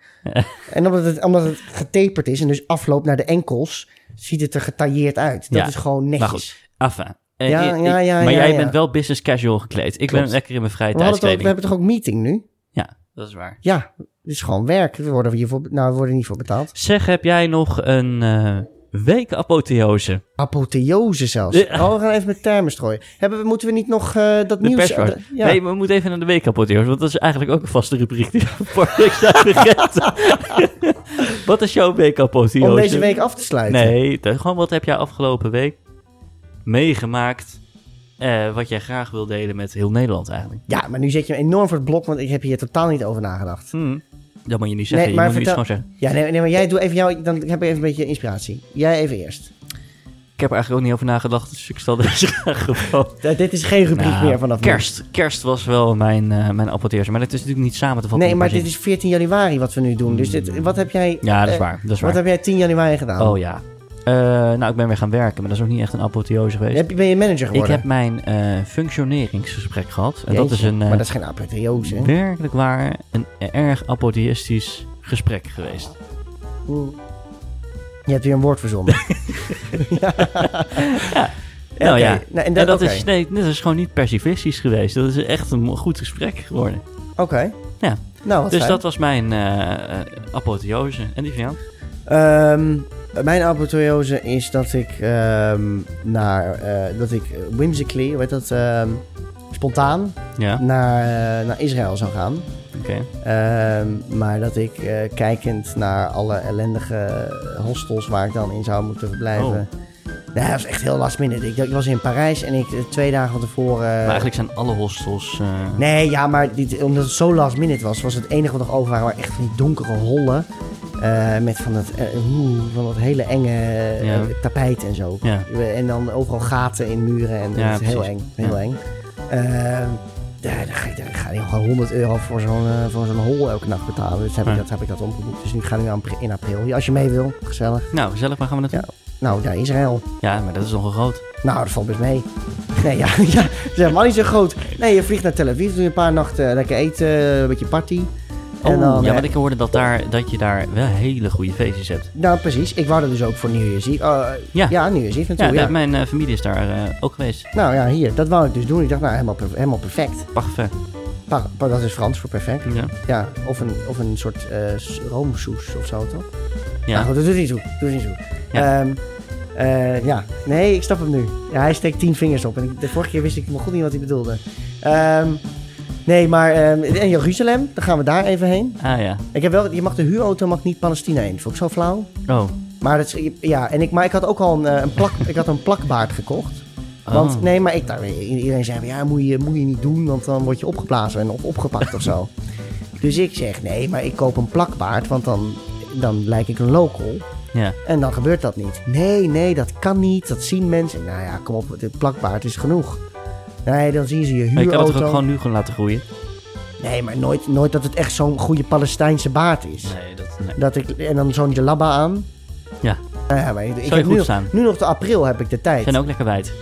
Speaker 2: En omdat het, omdat het getaperd is en dus afloopt naar de enkels, ziet het er getailleerd uit. Dat
Speaker 1: Ja,
Speaker 2: is gewoon netjes.
Speaker 1: Maar goed, enfin. Eh,
Speaker 2: Ja,
Speaker 1: ik-
Speaker 2: ja,
Speaker 1: ik-
Speaker 2: ja,
Speaker 1: maar
Speaker 2: ja,
Speaker 1: jij
Speaker 2: ja.
Speaker 1: bent wel business casual gekleed. Ik ben
Speaker 2: Klopt.
Speaker 1: lekker in mijn vrije
Speaker 2: we, hadden toch, we
Speaker 1: tijdskleding.
Speaker 2: hebben toch ook meeting nu?
Speaker 1: Ja, dat is waar.
Speaker 2: Ja, het is gewoon werk. We worden hiervoor, nou, we worden niet voor betaald.
Speaker 1: Zeg, heb jij nog een eh week apotheose?
Speaker 2: Apotheose zelfs.
Speaker 1: Ja.
Speaker 2: Oh, we gaan even met termen strooien. Hebben we, moeten we niet nog eh, dat
Speaker 1: De
Speaker 2: nieuws...
Speaker 1: perswart.
Speaker 2: eh, ja.
Speaker 1: Nee, we moeten even naar de week apotheose, want dat is eigenlijk ook een vaste rubriek die [LAUGHS] we voor week zijn vergeten. [LAUGHS] wat is jouw week apotheose?
Speaker 2: om deze week af te sluiten.
Speaker 1: Nee, dat- gewoon wat heb jij afgelopen week meegemaakt? eh, wat jij graag wil delen met heel Nederland eigenlijk.
Speaker 2: Ja, maar nu zet je me enorm voor het blok, want ik heb hier totaal niet over nagedacht.
Speaker 1: Dat moet je niet zeggen,
Speaker 2: Hmm. Nee, maar
Speaker 1: je moet nu iets
Speaker 2: vertel-
Speaker 1: gewoon zeggen.
Speaker 2: Ja, nee, nee maar jij doe even jou, dan heb ik even een beetje inspiratie. Jij even eerst.
Speaker 1: Ik heb er eigenlijk ook niet over nagedacht, dus ik stel deze [LAUGHS] graag gewoon.
Speaker 2: D- dit is geen rubriek
Speaker 1: Nou,
Speaker 2: meer vanaf nu.
Speaker 1: kerst. Kerst was wel mijn, eh mijn apotheose, maar dat is natuurlijk niet samen te vatten.
Speaker 2: Nee,
Speaker 1: in
Speaker 2: maar
Speaker 1: een paar
Speaker 2: dit is 14 januari wat we nu doen. Dus dit, wat heb jij...
Speaker 1: zinnen. Ja, dat is
Speaker 2: eh,
Speaker 1: waar, dat is waar.
Speaker 2: Wat heb jij 10 januari gedaan?
Speaker 1: Oh ja. Eh, nou, ik ben weer gaan werken, maar dat is ook niet echt een apotheose geweest.
Speaker 2: Heb je- ben je manager
Speaker 1: ik
Speaker 2: geworden?
Speaker 1: heb mijn eh, functioneringsgesprek gehad. En dat
Speaker 2: Jeetje,
Speaker 1: is een eh,
Speaker 2: Maar dat is geen apotheose, hè?
Speaker 1: werkelijk waar een erg apotheïstisch gesprek geweest.
Speaker 2: Je hebt weer een woord
Speaker 1: [LAUGHS]
Speaker 2: verzonnen. ja.
Speaker 1: Nou
Speaker 2: Oké,
Speaker 1: ja.
Speaker 2: nou, en
Speaker 1: en
Speaker 2: dat,
Speaker 1: dat,
Speaker 2: oké.
Speaker 1: is, nee, dat is gewoon niet passivistisch geweest. Dat is echt een mo- goed gesprek geworden.
Speaker 2: Oké.
Speaker 1: Ja.
Speaker 2: Nou, wat
Speaker 1: dus
Speaker 2: fijn.
Speaker 1: dat was mijn eh, eh, apotheose. En die van jou?
Speaker 2: Ehm, mijn apotheose is dat ik ehm, naar... eh, dat ik eh, whimsically, hoe heet dat? ehm, spontaan
Speaker 1: Ja,
Speaker 2: naar, eh, naar Israël zou gaan.
Speaker 1: oké.
Speaker 2: Ehm, maar dat ik eh, kijkend naar alle ellendige hostels waar ik dan in zou moeten verblijven.
Speaker 1: Oh.
Speaker 2: Nou, dat was echt heel last minute. Ik, ik was in Parijs en ik eh, twee dagen van tevoren. eh,
Speaker 1: maar eigenlijk zijn alle hostels... eh,
Speaker 2: Nee, ja, maar dit, omdat het zo last minute was, was het enige wat nog over waren, waren echt van die donkere hollen. eh, met van dat, eh, oeh, van dat hele enge eh,
Speaker 1: Ja.
Speaker 2: tapijt en zo.
Speaker 1: Ja.
Speaker 2: En dan overal gaten in muren en
Speaker 1: Ja,
Speaker 2: dat is heel
Speaker 1: precies.
Speaker 2: eng. Heel
Speaker 1: Ja.
Speaker 2: eng. Ehm, daar, daar ga ik, daar ga ik gewoon 100 euro voor zo'n eh, voor zo'n hol elke nacht betalen. Dus heb,
Speaker 1: Ja.
Speaker 2: ik dat, heb ik dat omgeboekt. Dus nu gaan we aan- in april. Ja, Als je mee wil, gezellig.
Speaker 1: Nou, gezellig, waar gaan we naartoe?
Speaker 2: Nou, naar Israël.
Speaker 1: Ja. maar dat is nogal groot.
Speaker 2: Nou, dat valt best mee. Nee, ja, [LAUGHS] ja, dat is helemaal niet zo groot. Nee, je vliegt naar Tel Aviv, doe je een paar nachten lekker eten, een beetje party.
Speaker 1: Oh, ja,
Speaker 2: eh,
Speaker 1: maar ik hoorde dat, daar, dat je daar wel hele goede feestjes hebt.
Speaker 2: Nou, precies. Ik wou er dus ook voor New Year's Eve. eh,
Speaker 1: Ja.
Speaker 2: ja. New Year's Eve
Speaker 1: Ja,
Speaker 2: natuurlijk. Ja,
Speaker 1: dat- mijn eh, familie is daar eh, ook geweest.
Speaker 2: Nou ja, hier, dat wou ik dus doen. Ik dacht, nou, helemaal, per- helemaal perfect.
Speaker 1: Parfait.
Speaker 2: Pa- pa- dat is Frans voor perfect.
Speaker 1: Ja.
Speaker 2: Ja, of een, of een soort eh, s- roomsoes of zo, toch?
Speaker 1: Ja.
Speaker 2: Nou goed, dat doet niet toe. Doet niet toe.
Speaker 1: Ja.
Speaker 2: Ja. eh, ja, nee, ik snap hem nu. Ja, hij steekt tien vingers op. En ik- de vorige keer wist ik nog goed niet wat hij bedoelde. Ehm, nee, maar ehm, in Jeruzalem, dan gaan we daar even heen.
Speaker 1: Ah ja.
Speaker 2: Ik heb wel, je mag de huurauto mag niet Palestina in. Vond ik zo flauw.
Speaker 1: Oh.
Speaker 2: Maar, dat is, ja, en ik, maar ik had ook al een, eh, een, plak, ik had een plakbaard gekocht. Want
Speaker 1: Oh.
Speaker 2: nee, maar ik, daar, iedereen zei, ja, moet je, moet je niet doen, want dan word je opgeblazen en op, opgepakt of
Speaker 1: [LAUGHS]
Speaker 2: zo. Dus ik zeg, nee, maar ik koop een plakbaard, want dan, dan lijk ik een local.
Speaker 1: Ja.
Speaker 2: En dan gebeurt dat niet. Nee, nee, dat kan niet, dat zien mensen. Nou ja, kom op, dit plakbaard is genoeg. Nee, dan zien ze je
Speaker 1: Maar je kan
Speaker 2: huurauto.
Speaker 1: het toch ook gewoon nu gewoon laten groeien?
Speaker 2: Nee, maar nooit, nooit dat het echt zo'n goede Palestijnse baard is.
Speaker 1: Nee, dat... Nee.
Speaker 2: Dat ik, en dan zo'n jalaba aan.
Speaker 1: Ja.
Speaker 2: Nou ja, maar ik, ik
Speaker 1: je
Speaker 2: heb
Speaker 1: goed
Speaker 2: nu,
Speaker 1: staan?
Speaker 2: nu nog de april heb ik de tijd.
Speaker 1: Zijn ook lekker wijd.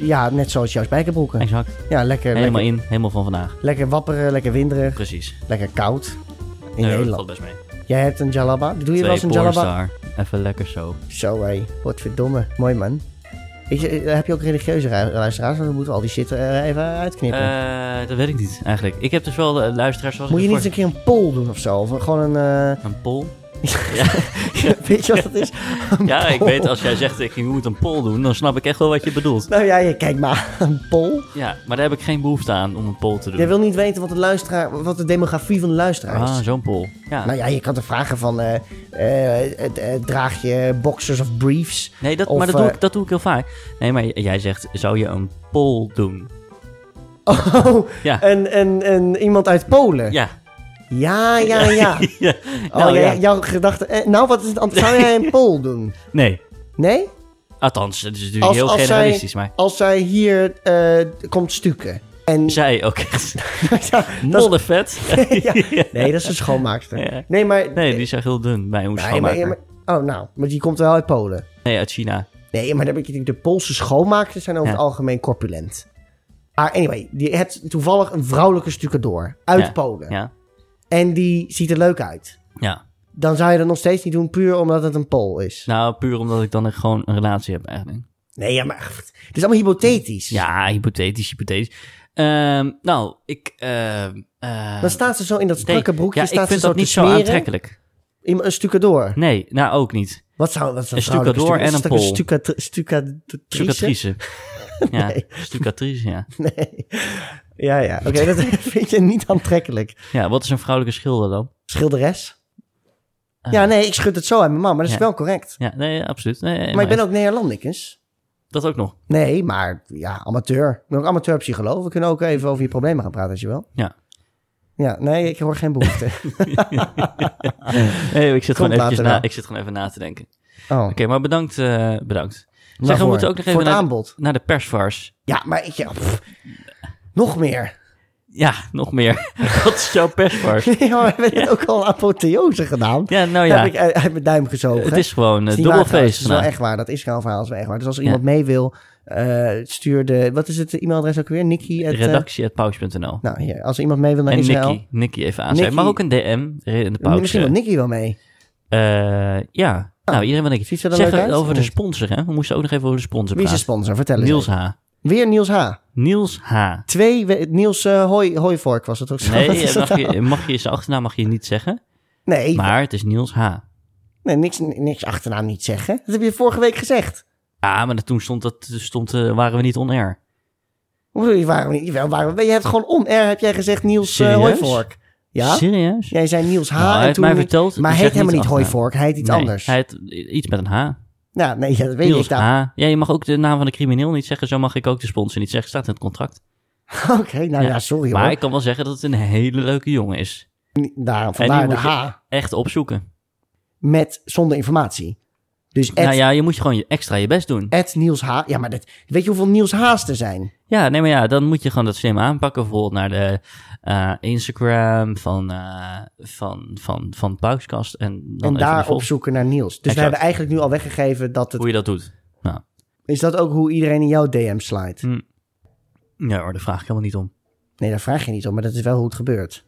Speaker 2: Ja, net zoals jouw spijkerbroeken.
Speaker 1: Exact.
Speaker 2: Ja, lekker,
Speaker 1: Helemaal
Speaker 2: lekker,
Speaker 1: in, helemaal van vandaag.
Speaker 2: lekker wapperen, lekker winderig,
Speaker 1: Precies.
Speaker 2: lekker koud. In
Speaker 1: Nee, dat valt
Speaker 2: Nederland.
Speaker 1: best mee.
Speaker 2: Jij hebt een jalaba. Doe je wel eens een
Speaker 1: Twee
Speaker 2: jalaba?
Speaker 1: Polestar. Even lekker zo.
Speaker 2: Zo hé, wat verdomme. Mooi man. Ik, eh, heb je ook religieuze ru- luisteraars? Want dan moeten we al die shit er even uitknippen.
Speaker 1: Eh, dat weet ik niet eigenlijk. Ik heb dus wel eh, luisteraars zoals
Speaker 2: Moet je
Speaker 1: ik
Speaker 2: niet een keer een poll doen of zo? Of gewoon
Speaker 1: [LAUGHS]
Speaker 2: een... eh,
Speaker 1: voor- Een poll?
Speaker 2: weet je wat dat is? [LAUGHS] Een
Speaker 1: Ja, ik
Speaker 2: poll.
Speaker 1: weet als jij zegt ik moet een poll doen, dan snap ik echt wel wat je bedoelt.
Speaker 2: Nou ja, je- kijk maar. [LAUGHS] Een poll.
Speaker 1: Ja, maar daar heb ik geen behoefte aan om een poll te
Speaker 2: Jij
Speaker 1: doen.
Speaker 2: wil niet weten wat de, luisteraar, wat de demografie van de luisteraar is.
Speaker 1: Ah, zo'n poll. Ja.
Speaker 2: Nou ja, je kan te vragen van... eh, eh, eh, eh, draag je boxers of briefs?
Speaker 1: Nee, dat,
Speaker 2: Of,
Speaker 1: maar dat doe,
Speaker 2: eh,
Speaker 1: ik, dat doe ik heel vaak. Nee, maar j- jij zegt, zou je een poll doen?
Speaker 2: [LAUGHS] Oh,
Speaker 1: Ja.
Speaker 2: en, en, en iemand uit Polen.
Speaker 1: Ja.
Speaker 2: ja, ja. ja.
Speaker 1: ja.
Speaker 2: Oh,
Speaker 1: [LAUGHS] Nou,
Speaker 2: jij-
Speaker 1: ja.
Speaker 2: jouw gedachte... eh, nou, wat is het antwoord? Zou jij
Speaker 1: [LAUGHS]
Speaker 2: een poll doen?
Speaker 1: Nee.
Speaker 2: Nee?
Speaker 1: Althans, het is natuurlijk
Speaker 2: Als-
Speaker 1: heel
Speaker 2: als zij-
Speaker 1: generalistisch, maar...
Speaker 2: Als zij hier eh, komt stukken.
Speaker 1: [LAUGHS]
Speaker 2: En...
Speaker 1: Zij ook echt.
Speaker 2: ja, [LAUGHS] dat is-
Speaker 1: Moddervet.
Speaker 2: [LAUGHS] ja. Nee, dat is een schoonmaakster.
Speaker 1: Ja.
Speaker 2: Nee, maar...
Speaker 1: Nee, die is echt heel dun bij een
Speaker 2: Nee, maar-
Speaker 1: schoonmaker.
Speaker 2: maar- oh, nou. Maar die komt wel uit Polen.
Speaker 1: Nee, uit China.
Speaker 2: Nee, maar dan heb ik de Poolse schoonmaaksters zijn over
Speaker 1: Ja.
Speaker 2: het algemeen corpulent. Maar anyway, die hebt toevallig een vrouwelijke stukadoor uit
Speaker 1: Ja.
Speaker 2: Polen.
Speaker 1: Ja.
Speaker 2: En die ziet er leuk uit.
Speaker 1: Ja.
Speaker 2: Dan zou je dat nog steeds niet doen puur omdat het een poll is.
Speaker 1: Nou, puur omdat ik dan echt gewoon een relatie heb eigenlijk.
Speaker 2: Nee, ja, maar pff, het is allemaal hypothetisch.
Speaker 1: Ja, hypothetisch, hypothetisch. Ehm, nou, ik... ehm, eh,
Speaker 2: Dan staat ze zo in dat
Speaker 1: nee,
Speaker 2: strakke broekje,
Speaker 1: ja,
Speaker 2: staat
Speaker 1: ik vind
Speaker 2: ze zo
Speaker 1: dat niet
Speaker 2: te
Speaker 1: zo
Speaker 2: smeren.
Speaker 1: aantrekkelijk.
Speaker 2: In een stucadoor.
Speaker 1: Nee, nou ook niet.
Speaker 2: Wat zou wat zou dus
Speaker 1: Een
Speaker 2: vrouwelijke
Speaker 1: stucadoor en een
Speaker 2: stuca-
Speaker 1: pol.
Speaker 2: stuca-
Speaker 1: Stucatrice.
Speaker 2: stucatrice? [LAUGHS]
Speaker 1: Ja,
Speaker 2: Nee.
Speaker 1: stucatrice, ja.
Speaker 2: Nee. Ja, ja. Oké, dat [LAUGHS] vind je niet aantrekkelijk.
Speaker 1: Ja, wat is een vrouwelijke schilder dan?
Speaker 2: Schilderes? Ja, nee, ik schud het zo aan mijn man, maar dat
Speaker 1: Eh.
Speaker 2: is
Speaker 1: Ja.
Speaker 2: wel correct.
Speaker 1: Ja, nee, absoluut. Nee,
Speaker 2: Maar ik ben ook Neerlandicus.
Speaker 1: Dat ook nog.
Speaker 2: Nee, maar ja, amateur. Ik ben ook amateurpsycholoog. We kunnen ook even over je problemen gaan praten als je wil.
Speaker 1: Ja.
Speaker 2: Ja, nee, ik hoor geen
Speaker 1: [LAUGHS]
Speaker 2: behoefte.
Speaker 1: Nee, ik zit, gewoon
Speaker 2: Komt
Speaker 1: eventjes
Speaker 2: later
Speaker 1: na,
Speaker 2: wel.
Speaker 1: ik zit gewoon even na te denken. Oké,
Speaker 2: Oh.
Speaker 1: maar bedankt. eh, bedankt. Zeg, we
Speaker 2: Waarvoor?
Speaker 1: moeten ook nog
Speaker 2: Voor
Speaker 1: even
Speaker 2: het
Speaker 1: naar,
Speaker 2: aanbod.
Speaker 1: naar de persvars.
Speaker 2: Ja, maar ik... Ja, pff. nog meer. [LAUGHS]
Speaker 1: Ja, nog meer. [LAUGHS] Wat is jouw persvars?
Speaker 2: Nee, maar we hebben net ook al een apotheose gedaan.
Speaker 1: Ja, nou
Speaker 2: Daar
Speaker 1: ja.
Speaker 2: heb ik uit uit mijn duim gezogen.
Speaker 1: Het is gewoon
Speaker 2: Dat
Speaker 1: een
Speaker 2: is niet waar
Speaker 1: dubbel
Speaker 2: trouwens.
Speaker 1: feest
Speaker 2: Dat is
Speaker 1: vandaag.
Speaker 2: wel echt waar. Dat is geen verhaal. Dat is wel echt waar. Dus als er iemand mee wil, eh, stuur de... Wat is het e-mailadres ook weer? Nikki? at, eh,
Speaker 1: Redactie.pauws.nl
Speaker 2: nou, hier. Als er iemand mee wil naar
Speaker 1: En
Speaker 2: Israël...
Speaker 1: Nicky, Nicky even aanschrijven.
Speaker 2: Nicky-
Speaker 1: Maar ook een DM, in de pauze.
Speaker 2: Misschien wil Nikki wel mee.
Speaker 1: Eh, ja, nou iedereen wat denk ik.
Speaker 2: Ziet ze er
Speaker 1: Zeg
Speaker 2: leuk uit?
Speaker 1: over de
Speaker 2: Of niet?
Speaker 1: sponsor, hè? We moesten ook nog even over de sponsor
Speaker 2: Wie is de
Speaker 1: praten.
Speaker 2: sponsor? Vertel eens.
Speaker 1: Niels
Speaker 2: even.
Speaker 1: H.
Speaker 2: Weer Niels H.
Speaker 1: Niels
Speaker 2: [LAUGHS]
Speaker 1: H.
Speaker 2: Twee... we- Niels eh Hooi, Hooivork was het ook zo? Wat
Speaker 1: Nee,
Speaker 2: is
Speaker 1: eh,
Speaker 2: dat
Speaker 1: mag
Speaker 2: nou?
Speaker 1: je, mag je zijn achternaam mag je niet zeggen.
Speaker 2: Nee,
Speaker 1: Maar het is Niels H.
Speaker 2: nee niks, niks achternaam niet zeggen. Dat heb je vorige week gezegd.
Speaker 1: Ah, maar toen stond dat, stond, eh, waren we niet on air.
Speaker 2: Hoe bedoel je, waarom niet? Jawel, waarom? Je hebt gewoon on-air, heb jij gezegd Niels eh,
Speaker 1: Serieus?
Speaker 2: Hooivork. Ja?
Speaker 1: Serieus?
Speaker 2: Jij zei Niels H.
Speaker 1: Nou, hij
Speaker 2: en
Speaker 1: heeft
Speaker 2: toen
Speaker 1: mij
Speaker 2: niet-
Speaker 1: verteld,
Speaker 2: Maar
Speaker 1: ik
Speaker 2: hij
Speaker 1: zeg
Speaker 2: heet helemaal
Speaker 1: niet
Speaker 2: niet
Speaker 1: achternaam.
Speaker 2: Hooivork, hij heet iets
Speaker 1: Nee,
Speaker 2: anders.
Speaker 1: Hij had iets met een H.
Speaker 2: Nou, nee, ja, dat weet
Speaker 1: Niels
Speaker 2: ik.
Speaker 1: H.
Speaker 2: Nou,
Speaker 1: Ja, je mag ook de naam van de crimineel niet zeggen. Zo mag ik ook de sponsor niet zeggen. Staat in het contract.
Speaker 2: [LAUGHS] Oké, nou ja,
Speaker 1: Ja,
Speaker 2: sorry hoor.
Speaker 1: Maar ik kan wel zeggen dat het een hele leuke jongen is.
Speaker 2: Daarom
Speaker 1: En
Speaker 2: vandaar
Speaker 1: die
Speaker 2: de
Speaker 1: moet je
Speaker 2: H.
Speaker 1: echt opzoeken.
Speaker 2: Met zonder informatie. Dus at,
Speaker 1: Nou ja, je moet gewoon je extra je best doen.
Speaker 2: at Niels H. Ja, maar dat, weet je hoeveel Niels H's er zijn?
Speaker 1: Ja, nee, maar ja, dan moet je gewoon dat slim aanpakken. Bijvoorbeeld naar de eh, Instagram van, eh van, van, van Pauskast. En, dan
Speaker 2: en
Speaker 1: even
Speaker 2: daar
Speaker 1: volgen
Speaker 2: op zoeken naar Niels. Dus we
Speaker 1: Exact.
Speaker 2: hebben eigenlijk nu al weggegeven dat het...
Speaker 1: hoe je dat doet. Nou,
Speaker 2: Is dat ook hoe iedereen in jouw DM slijt?
Speaker 1: Hm. ja, hoor, daar vraag ik helemaal niet om.
Speaker 2: Nee, daar vraag je niet om, maar dat is wel hoe het gebeurt.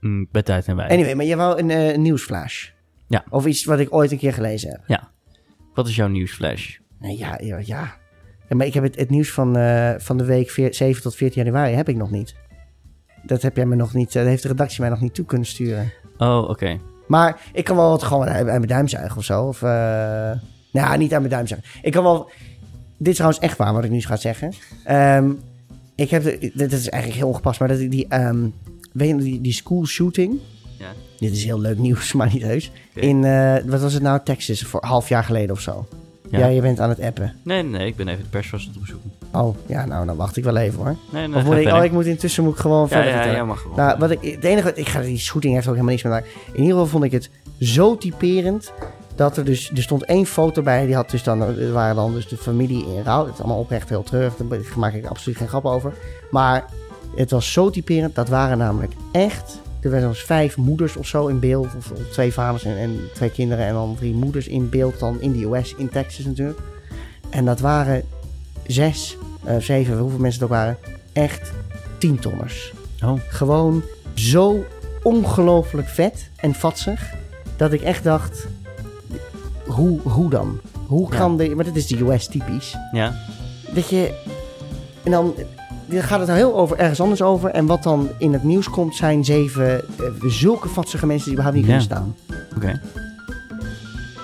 Speaker 1: Mm, bij tijd en wij.
Speaker 2: Anyway, maar jij wou een eh, nieuwsflash.
Speaker 1: Ja.
Speaker 2: Of iets wat ik ooit een keer gelezen heb.
Speaker 1: Ja. Wat is jouw nieuwsflash?
Speaker 2: Nee, ja, ja, ja. Ja, maar ik heb het, het nieuws van, eh, van de week veer- 7 tot 14 januari heb ik nog niet. Dat heb jij me nog niet, eh, dat heeft de redactie mij nog niet toe kunnen sturen.
Speaker 1: Oh, oké.
Speaker 2: Maar ik kan wel wat gewoon aan, aan mijn duim zuigen of zo. Of, eh, nou, niet aan mijn duim zuigen. Ik kan wel... Dit is trouwens echt waar wat ik nu ga zeggen. Ehm, ik heb... de- dit is eigenlijk heel ongepast, maar dat ik die... ehm, weet je nog, die, die school shooting?
Speaker 1: Ja.
Speaker 2: Dit is heel leuk nieuws, [LAUGHS] maar niet heus. In, eh, wat was het nou, Texas, voor half jaar geleden of zo.
Speaker 1: Ja.
Speaker 2: ja je bent aan het appen.
Speaker 1: Nee, nee, nee, ik ben even de persvast aan het opzoeken.
Speaker 2: Oh, ja, nou, dan wacht ik wel even
Speaker 1: [LAUGHS]
Speaker 2: hoor.
Speaker 1: Nee, nee,
Speaker 2: Of
Speaker 1: ga
Speaker 2: moet ik,
Speaker 1: verder.
Speaker 2: oh, ik moet intussen moet ik gewoon
Speaker 1: ja,
Speaker 2: verder
Speaker 1: ja,
Speaker 2: vertellen.
Speaker 1: ja, mag gewoon.
Speaker 2: Nou, wat ik, het enige, wat- ik ga die shooting heeft ook helemaal niks meer maken. In ieder geval vond ik het zo typerend dat er dus, er stond één foto bij, die had dus dan, er waren dan dus de familie in rouw. Het is allemaal oprecht heel treurig, daar maak ik absoluut geen grap over. Maar het was zo typerend, dat waren namelijk echt, er werden zelfs vijf moeders of zo in beeld, of, of twee vaders en, en twee kinderen en dan drie moeders in beeld, dan in de US, in Texas natuurlijk. En dat waren zes, eh, zeven, hoeveel mensen het ook waren, echt tientonners
Speaker 1: Oh,
Speaker 2: gewoon zo ongelooflijk vet en vatsig. Dat ik echt dacht, hoe, hoe dan? Hoe
Speaker 1: Ja.
Speaker 2: kan de... Maar dat is de US typisch.
Speaker 1: ja.
Speaker 2: Dat je... En dan, dan gaat het nou heel over, ergens anders over. En wat dan in het nieuws komt zijn zeven eh, zulke vatsige mensen die überhaupt niet
Speaker 1: Ja.
Speaker 2: kunnen staan. [LAUGHS]
Speaker 1: Oké.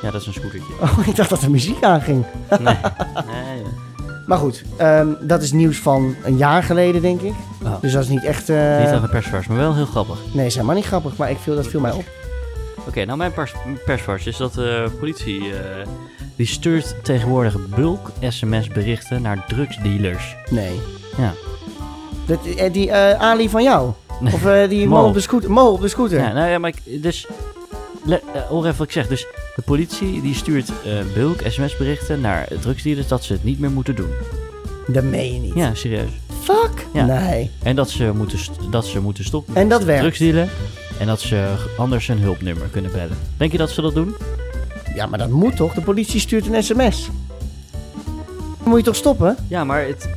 Speaker 1: Ja, dat is een scootertje.
Speaker 2: Oh, ik dacht dat er muziek aanging.
Speaker 1: Nee, eh, ja.
Speaker 2: Maar goed, ehm, dat is nieuws van een jaar geleden, denk ik.
Speaker 1: Oh.
Speaker 2: Dus dat is niet echt... eh,
Speaker 1: Niet echt een persvars, maar wel heel grappig.
Speaker 2: nee, is helemaal niet grappig, maar ik viel, dat viel mij op.
Speaker 1: Oké, nou mijn pers persvars is dat de politie eh, die stuurt tegenwoordig bulk sms-berichten naar drugsdealers.
Speaker 2: Nee.
Speaker 1: Ja.
Speaker 2: Dat, eh, die eh, Ali van jou?
Speaker 1: Nee.
Speaker 2: Of eh, die
Speaker 1: Mo.
Speaker 2: man op de scooter? Mo op de scooter.
Speaker 1: ja. Nou ja, maar ik, dus le- eh, hoor even wat ik zeg. Dus de politie die stuurt eh, bulk sms-berichten naar drugsdealers dat ze het niet meer moeten doen.
Speaker 2: Dat meen je niet.
Speaker 1: Ja, serieus.
Speaker 2: Fuck.
Speaker 1: Ja.
Speaker 2: Nee.
Speaker 1: En dat ze moeten, st- dat ze moeten stoppen
Speaker 2: En dat
Speaker 1: met
Speaker 2: werkt.
Speaker 1: drugsdealen en dat ze anders een hulpnummer kunnen bellen. Denk je dat ze dat doen?
Speaker 2: Ja, maar dat moet toch? De politie stuurt een sms. Dan moet je toch stoppen?
Speaker 1: Ja, maar het...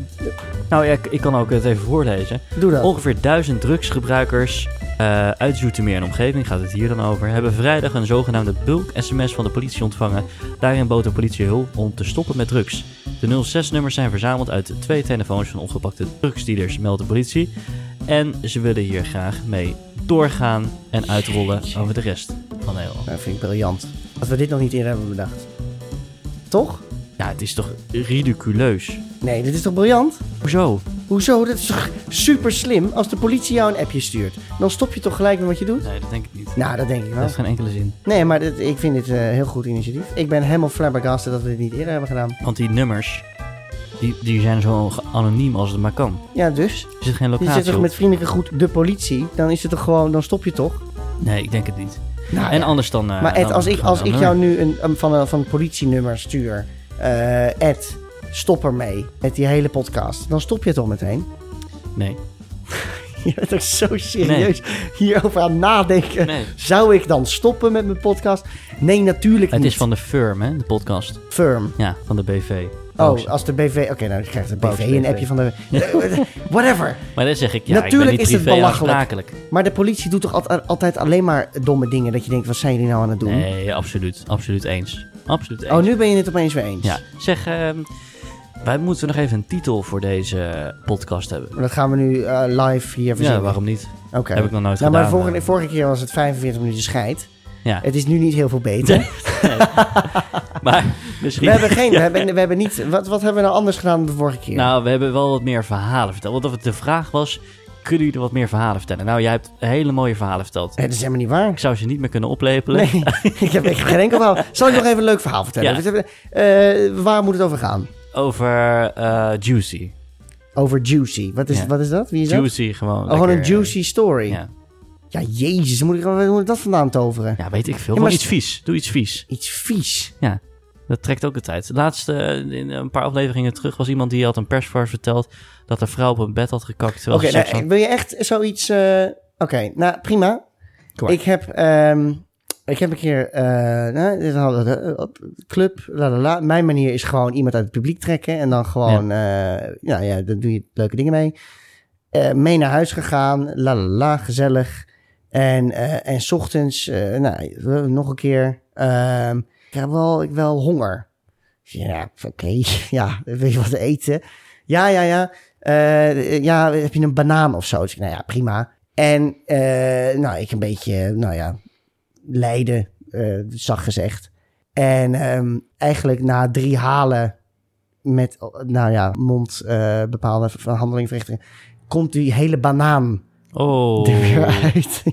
Speaker 1: Nou ja, ik, ik kan ook het even voorlezen.
Speaker 2: Doe dat.
Speaker 1: Ongeveer duizend drugsgebruikers Eh, uit Zoetermeer en omgeving gaat het hier dan over. Hebben vrijdag een zogenaamde bulk-sms van de politie ontvangen. Daarin bood de politie hulp om te stoppen met drugs. De 06-nummers zijn verzameld uit twee telefoons van opgepakte drugsdealers, meldt de politie. En ze willen hier graag mee doorgaan en uitrollen over de rest van Nederland.
Speaker 2: Dat vind ik briljant. Dat we dit nog niet eerder hebben bedacht. Toch?
Speaker 1: Ja, het is toch ridiculeus?
Speaker 2: Nee, dit is toch briljant?
Speaker 1: Hoezo?
Speaker 2: Hoezo? Dat is toch super slim? Als de politie jou een appje stuurt, dan stop je toch gelijk met wat je doet?
Speaker 1: Nee, dat denk ik niet.
Speaker 2: Nou, dat denk ik
Speaker 1: Dat
Speaker 2: wel.
Speaker 1: heeft geen enkele zin.
Speaker 2: Nee, maar dit- ik vind dit een heel goed initiatief. Ik ben helemaal flabbergasted dat we dit niet eerder hebben gedaan.
Speaker 1: Want die nummers, die, die zijn zo anoniem als het maar kan.
Speaker 2: Ja, dus?
Speaker 1: Er zit geen
Speaker 2: Je
Speaker 1: locatie
Speaker 2: zit toch
Speaker 1: op.
Speaker 2: met vriendelijke goed de politie? Dan is het toch gewoon, dan stop je toch?
Speaker 1: Nee, ik denk het niet.
Speaker 2: Nou,
Speaker 1: en
Speaker 2: ja.
Speaker 1: anders dan... eh,
Speaker 2: Maar Ed,
Speaker 1: dan-
Speaker 2: als ik,
Speaker 1: dan-
Speaker 2: als
Speaker 1: dan
Speaker 2: ik
Speaker 1: nummer.
Speaker 2: jou nu een, een- van, een, van een politienummer stuur, eh, Ed, stop ermee met die hele podcast, dan stop je het al meteen. [LAUGHS]
Speaker 1: Nee.
Speaker 2: Je bent ook zo serieus hierover aan het nadenken.
Speaker 1: Nee.
Speaker 2: Zou ik dan stoppen met mijn podcast? Nee, natuurlijk
Speaker 1: Het
Speaker 2: niet.
Speaker 1: is van de firm, hè, de podcast.
Speaker 2: Firm.
Speaker 1: Ja, van de BV.
Speaker 2: Oh, als de BV... Oké, nou, dan krijgt de BV
Speaker 1: Boos
Speaker 2: een
Speaker 1: BV.
Speaker 2: appje van de...
Speaker 1: [LAUGHS]
Speaker 2: Whatever.
Speaker 1: Maar dan zeg ik, ja,
Speaker 2: Natuurlijk
Speaker 1: ik ben
Speaker 2: is
Speaker 1: niet
Speaker 2: het
Speaker 1: privé
Speaker 2: belachelijk.
Speaker 1: aansprakelijk.
Speaker 2: Maar de politie doet toch altijd, altijd alleen maar domme dingen... dat je denkt, wat zijn jullie nou aan het doen?
Speaker 1: Nee, absoluut. Absoluut eens. Absoluut eens.
Speaker 2: Oh, nu ben je het opeens weer eens.
Speaker 1: Ja, zeg, ehm, wij moeten nog even een titel voor deze podcast hebben.
Speaker 2: Maar dat gaan we nu eh, live hier verzinnen.
Speaker 1: Ja, waarom niet?
Speaker 2: Oké.
Speaker 1: Heb ik nog nooit
Speaker 2: nou,
Speaker 1: gedaan. eh.
Speaker 2: Maar vorige, vorige keer was het 45 minuten scheid.
Speaker 1: Ja,
Speaker 2: Het is nu niet heel veel beter.
Speaker 1: [LAUGHS] maar
Speaker 2: We
Speaker 1: misschien...
Speaker 2: hebben
Speaker 1: [LAUGHS]
Speaker 2: geen... We hebben, we hebben niet... Wat, wat hebben we nou anders gedaan dan de vorige keer?
Speaker 1: Nou, we hebben wel wat meer verhalen verteld. Want of het de vraag was, kunnen jullie er wat meer verhalen vertellen? Nou, jij hebt hele mooie verhalen verteld.
Speaker 2: Nee, dat is helemaal niet waar.
Speaker 1: Ik zou ze niet meer kunnen oplepelen.
Speaker 2: Nee, [LAUGHS] ik heb echt geen enkel verhaal. Zal ik nog even een leuk verhaal vertellen?
Speaker 1: Ja.
Speaker 2: Dit hebben- eh, waar moet het over gaan?
Speaker 1: Over eh, Juicy.
Speaker 2: Over Juicy. Wat is,
Speaker 1: Ja.
Speaker 2: wat is dat? Wie is dat?
Speaker 1: Juicy gewoon.
Speaker 2: Oh, gewoon een
Speaker 1: lekker, eh,
Speaker 2: Juicy story. Ja,
Speaker 1: Ja.
Speaker 2: jezus. Moet ik, waar moet ik dat vandaan toveren?
Speaker 1: ja, weet ik veel.
Speaker 2: Ja,
Speaker 1: Doe
Speaker 2: maar-
Speaker 1: iets vies. Doe iets vies.
Speaker 2: Iets vies.
Speaker 1: Ja, dat trekt ook de tijd. De laatste, eh, in een paar afleveringen terug, was iemand die had een persvars verteld dat een vrouw op een bed had gekakt. terwijl
Speaker 2: Oké,
Speaker 1: ze
Speaker 2: nou,
Speaker 1: seks had.
Speaker 2: wil je echt zoiets... eh, Oké, nou prima.
Speaker 1: Kom maar.
Speaker 2: Ik heb, ehm, ik heb een keer... eh, nou, dit hadden we, eh, op club, la la la. Mijn manier is gewoon iemand uit het publiek trekken. En dan gewoon... Ja, ja, ja dan doe je leuke dingen mee. Eh, mee naar huis gegaan. La la la, gezellig. En, eh, en 's ochtends, eh, nou, eh, nog een keer. ehm, ik heb wel, ik wel honger. Ik zeg, Ja, oké. [LAUGHS] Ja, wil je wat eten? Ja, ja, ja. Eh, ja, heb je een banaan of zo? Dus ik, nou ja, prima. En eh, nou, ik een beetje, nou ja, lijden, eh zag gezegd. En ehm, eigenlijk na drie halen met, nou ja, mond eh, bepaalde handeling verrichten, komt die hele banaan
Speaker 1: Oh,
Speaker 2: [LAUGHS] er weer uit.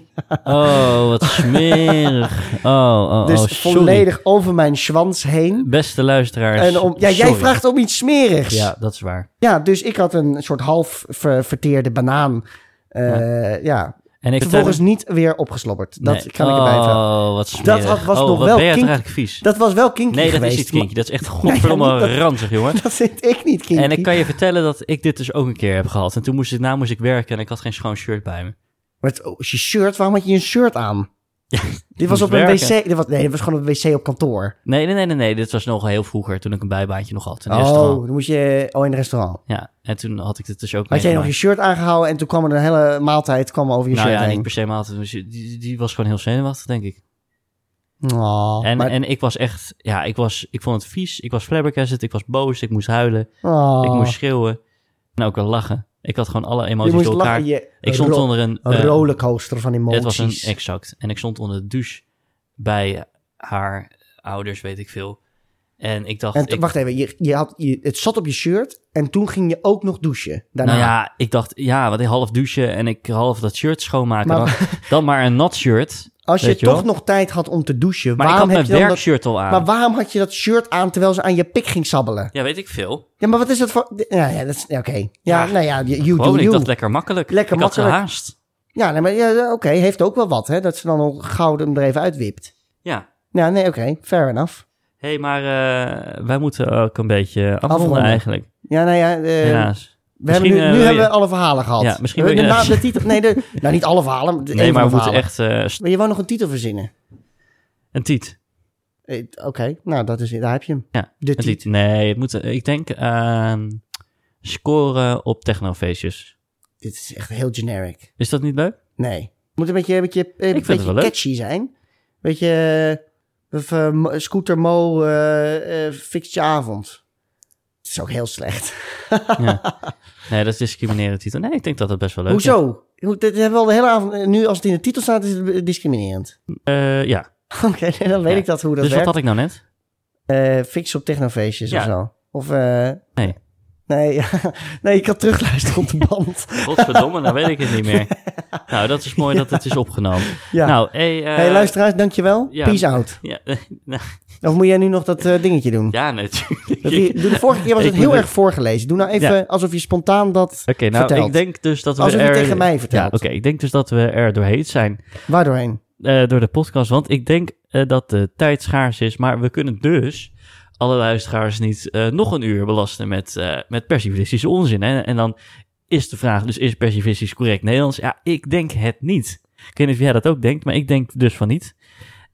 Speaker 1: oh, wat smerig.
Speaker 2: [LAUGHS]
Speaker 1: Oh, oh, oh,
Speaker 2: dus
Speaker 1: sorry.
Speaker 2: volledig over mijn schwans heen.
Speaker 1: Beste luisteraars.
Speaker 2: En om, ja, jij
Speaker 1: sorry.
Speaker 2: vraagt om iets smerigs.
Speaker 1: Ja, dat is waar.
Speaker 2: Ja, dus ik had een soort half ver- verteerde banaan. eh, ja.
Speaker 1: En ik
Speaker 2: vervolgens niet weer opgeslobberd. Dat
Speaker 1: eh, Nee.
Speaker 2: kan ik erbij vragen.
Speaker 1: Oh, wat smerig.
Speaker 2: had- was
Speaker 1: oh,
Speaker 2: nog
Speaker 1: wat
Speaker 2: wel
Speaker 1: ben jij
Speaker 2: kink-
Speaker 1: toch eigenlijk vies?
Speaker 2: Dat was wel kinky
Speaker 1: nee, dat
Speaker 2: geweest.
Speaker 1: is niet kinky. Dat is echt godverdomme
Speaker 2: Nee, ja, niet dat-
Speaker 1: ranzig,
Speaker 2: [LAUGHS]
Speaker 1: jongen.
Speaker 2: maar [LAUGHS] Dat vind ik niet kinky.
Speaker 1: En ik kan je vertellen dat ik dit dus ook een keer heb gehad. En toen moest ik, na moest ik werken en ik had geen schoon shirt bij me.
Speaker 2: Maar het- oh, is je shirt, waarom had je een shirt aan? dit was
Speaker 1: moest
Speaker 2: op een
Speaker 1: werken.
Speaker 2: wc. Dit was, nee, dit was gewoon op een wc op kantoor.
Speaker 1: Nee, nee, nee, nee, nee. Dit was nog heel vroeger, toen ik een bijbaantje nog had. In een
Speaker 2: Oh,
Speaker 1: restaurant.
Speaker 2: dan moest je. Oh, in een restaurant.
Speaker 1: Ja, en toen had ik dit dus ook
Speaker 2: Had jij nog je
Speaker 1: meegemaakt.
Speaker 2: shirt aangehouden en toen kwam er een hele maaltijd kwam over je
Speaker 1: Nou
Speaker 2: shirt
Speaker 1: ja,
Speaker 2: heen.
Speaker 1: niet per se maat. Die, die was gewoon heel zenuwachtig, denk ik.
Speaker 2: Oh,
Speaker 1: en,
Speaker 2: maar-
Speaker 1: en ik was echt... Ja, ik, was, ik vond het vies. Ik was flabbergasted. Ik was boos. Ik moest huilen.
Speaker 2: oh.
Speaker 1: Ik moest schreeuwen. En ook wel lachen. Ik had gewoon alle
Speaker 2: je
Speaker 1: emoties
Speaker 2: moest
Speaker 1: door elkaar.
Speaker 2: lachen. Je,
Speaker 1: Ik stond
Speaker 2: ro-
Speaker 1: onder een...
Speaker 2: een
Speaker 1: eh,
Speaker 2: rollercoaster van
Speaker 1: Het
Speaker 2: emoties.
Speaker 1: was een exact. En ik stond onder de douche bij haar ouders, weet ik veel. En ik dacht,
Speaker 2: en t-
Speaker 1: ik,
Speaker 2: wacht even, je, je had, je, het zat op je shirt en toen ging je ook nog douchen. Daarna.
Speaker 1: nou ja, ik dacht, ja, wat ik half douchen en ik half dat shirt schoonmaken.
Speaker 2: Maar-
Speaker 1: dan, [LAUGHS] dan maar een nat shirt.
Speaker 2: Als je
Speaker 1: weet je wel.
Speaker 2: toch nog tijd had om te douchen,
Speaker 1: Maar
Speaker 2: waarom
Speaker 1: ik
Speaker 2: heb
Speaker 1: had
Speaker 2: je dan
Speaker 1: mijn
Speaker 2: dat...
Speaker 1: werkshirt al aan.
Speaker 2: Maar waarom had je dat shirt aan terwijl ze aan je pik ging sabbelen?
Speaker 1: ja, weet ik veel.
Speaker 2: Ja, maar wat is dat voor... Ja, ja dat is... ja, Oké. Ja,
Speaker 1: Ja.
Speaker 2: nou ja, you you
Speaker 1: Gewoon,
Speaker 2: do
Speaker 1: ik
Speaker 2: you.
Speaker 1: dacht lekker makkelijk.
Speaker 2: Lekker
Speaker 1: ik had
Speaker 2: makkelijk.
Speaker 1: ze haast.
Speaker 2: Ja, nee, maar ja, oké, heeft ook wel wat, hè. Dat ze dan al gauw hem er even uitwipt.
Speaker 1: Ja.
Speaker 2: Ja, nee, oké, fair enough.
Speaker 1: Hé, hey, maar eh, wij moeten ook een beetje afronden,
Speaker 2: Afronden.
Speaker 1: eigenlijk.
Speaker 2: Ja, nou ja, eh,
Speaker 1: Helaas.
Speaker 2: we hebben nu,
Speaker 1: Misschien, eh,
Speaker 2: nu
Speaker 1: wil
Speaker 2: hebben
Speaker 1: je-
Speaker 2: we alle verhalen gehad.
Speaker 1: Ja, misschien
Speaker 2: We-
Speaker 1: wil
Speaker 2: de
Speaker 1: je-
Speaker 2: naam- de titel, nee, de, nou niet alle verhalen, maar de- een
Speaker 1: Nee,
Speaker 2: van
Speaker 1: maar
Speaker 2: de
Speaker 1: we moeten
Speaker 2: verhalen.
Speaker 1: echt eh, st-
Speaker 2: Maar je wou nog een titel verzinnen.
Speaker 1: een tiet.
Speaker 2: Eh, Oké, nou, dat is, daar heb je hem.
Speaker 1: Ja,
Speaker 2: De
Speaker 1: een
Speaker 2: titel.
Speaker 1: tiet. Nee, het moet, ik denk aan scoren op technofeestjes.
Speaker 2: Dit is echt heel generic.
Speaker 1: Is dat niet leuk?
Speaker 2: Nee. Moet een beetje, een beetje, een
Speaker 1: vind het
Speaker 2: beetje
Speaker 1: wel leuk.
Speaker 2: catchy zijn. Beetje eh, of, eh, Mo- Scooter Mo eh eh, fixt je avond. Het is ook heel slecht.
Speaker 1: Nee, dat is discriminerende titel. Nee, ik denk dat dat best wel leuk is.
Speaker 2: Hoezo? Hoe- Dit hebben we al de hele avond. eh, Nu als het in de titel staat, is het eh, discriminerend. [LAUGHS]
Speaker 1: Eh, ja.
Speaker 2: Oké, nee, dan weet
Speaker 1: Ja.
Speaker 2: ik dat hoe dat
Speaker 1: dus wat
Speaker 2: werkt.
Speaker 1: had ik nou net?
Speaker 2: Eh, fix op technofeestjes
Speaker 1: Ja.
Speaker 2: of zo. Of eh,
Speaker 1: Nee.
Speaker 2: nee, [LAUGHS] ja. nee, je kan terugluisteren op de
Speaker 1: [LAUGHS]
Speaker 2: band.
Speaker 1: [LAUGHS] Godverdomme, nou weet ik het niet
Speaker 2: [LAUGHS]
Speaker 1: meer. Nou, dat is mooi dat het is opgenomen.
Speaker 2: Ja.
Speaker 1: Nou, hey, eh,
Speaker 2: hey, luisteraars, dankjewel.
Speaker 1: ja.
Speaker 2: Peace out.
Speaker 1: Ja, [LAUGHS] eh, nou,
Speaker 2: Of moet jij nu nog dat eh, dingetje doen?
Speaker 1: ja natuurlijk.
Speaker 2: Dat die- doe de vorige keer was
Speaker 1: [LAUGHS] Ik
Speaker 2: het heel
Speaker 1: moet-
Speaker 2: erg voorgelezen. Doe nou even alsof je spontaan dat...
Speaker 1: Oké, nou,
Speaker 2: vertelt.
Speaker 1: ik denk dus dat we
Speaker 2: Alsof je
Speaker 1: er...
Speaker 2: tegen mij
Speaker 1: Ja,
Speaker 2: vertelt.
Speaker 1: oké, ik denk dus dat we er doorheen zijn
Speaker 2: Waardoorheen?
Speaker 1: eh, door de podcast. Want ik denk eh, dat de tijd schaars is, maar we kunnen dus alle luisteraars niet eh, nog een uur belasten met, eh met persifistische onzin. Hè? En dan is de vraag dus, is persifistisch correct Nederlands? Ja, ik denk het niet. Ik weet niet of jij dat ook denkt, maar ik denk dus van niet.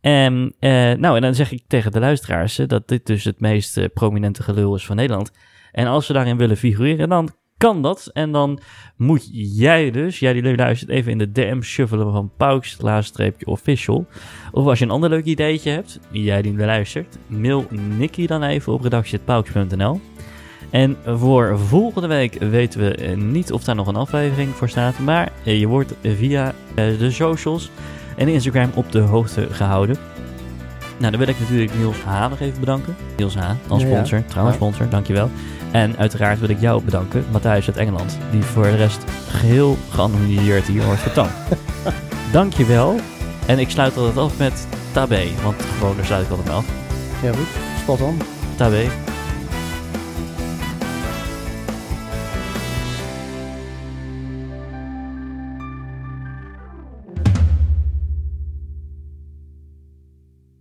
Speaker 1: En, eh, nou, en dan zeg ik tegen de luisteraars eh, dat dit dus het meest eh, prominente gelul is van Nederland. En als ze daarin willen figureren, dan kan dat. En dan moet jij dus, jij die luistert, even in de DM shuffelen van Pauks, laagstreepje official. Of als je een ander leuk ideetje hebt, jij die luistert, mail Nicky dan even op redactie.pauks.nl. En voor volgende week weten we eh, niet of daar nog een aflevering voor staat. Maar eh, je wordt via eh, de socials en Instagram op de hoogte gehouden. Nou, dan wil ik natuurlijk Niels H. nog even bedanken. Niels H. als
Speaker 2: Ja, ja.
Speaker 1: sponsor, trouwens
Speaker 2: Ja.
Speaker 1: sponsor, dankjewel. En uiteraard wil ik jou bedanken, Matthijs uit Engeland, die voor de rest geheel geanonimiseerd hier wordt vertoond.
Speaker 2: [LAUGHS]
Speaker 1: dankjewel. En ik sluit altijd af met Tabé, want gewoon daar sluit ik altijd mee af.
Speaker 2: Ja, goed. Spot on.
Speaker 1: Tabé,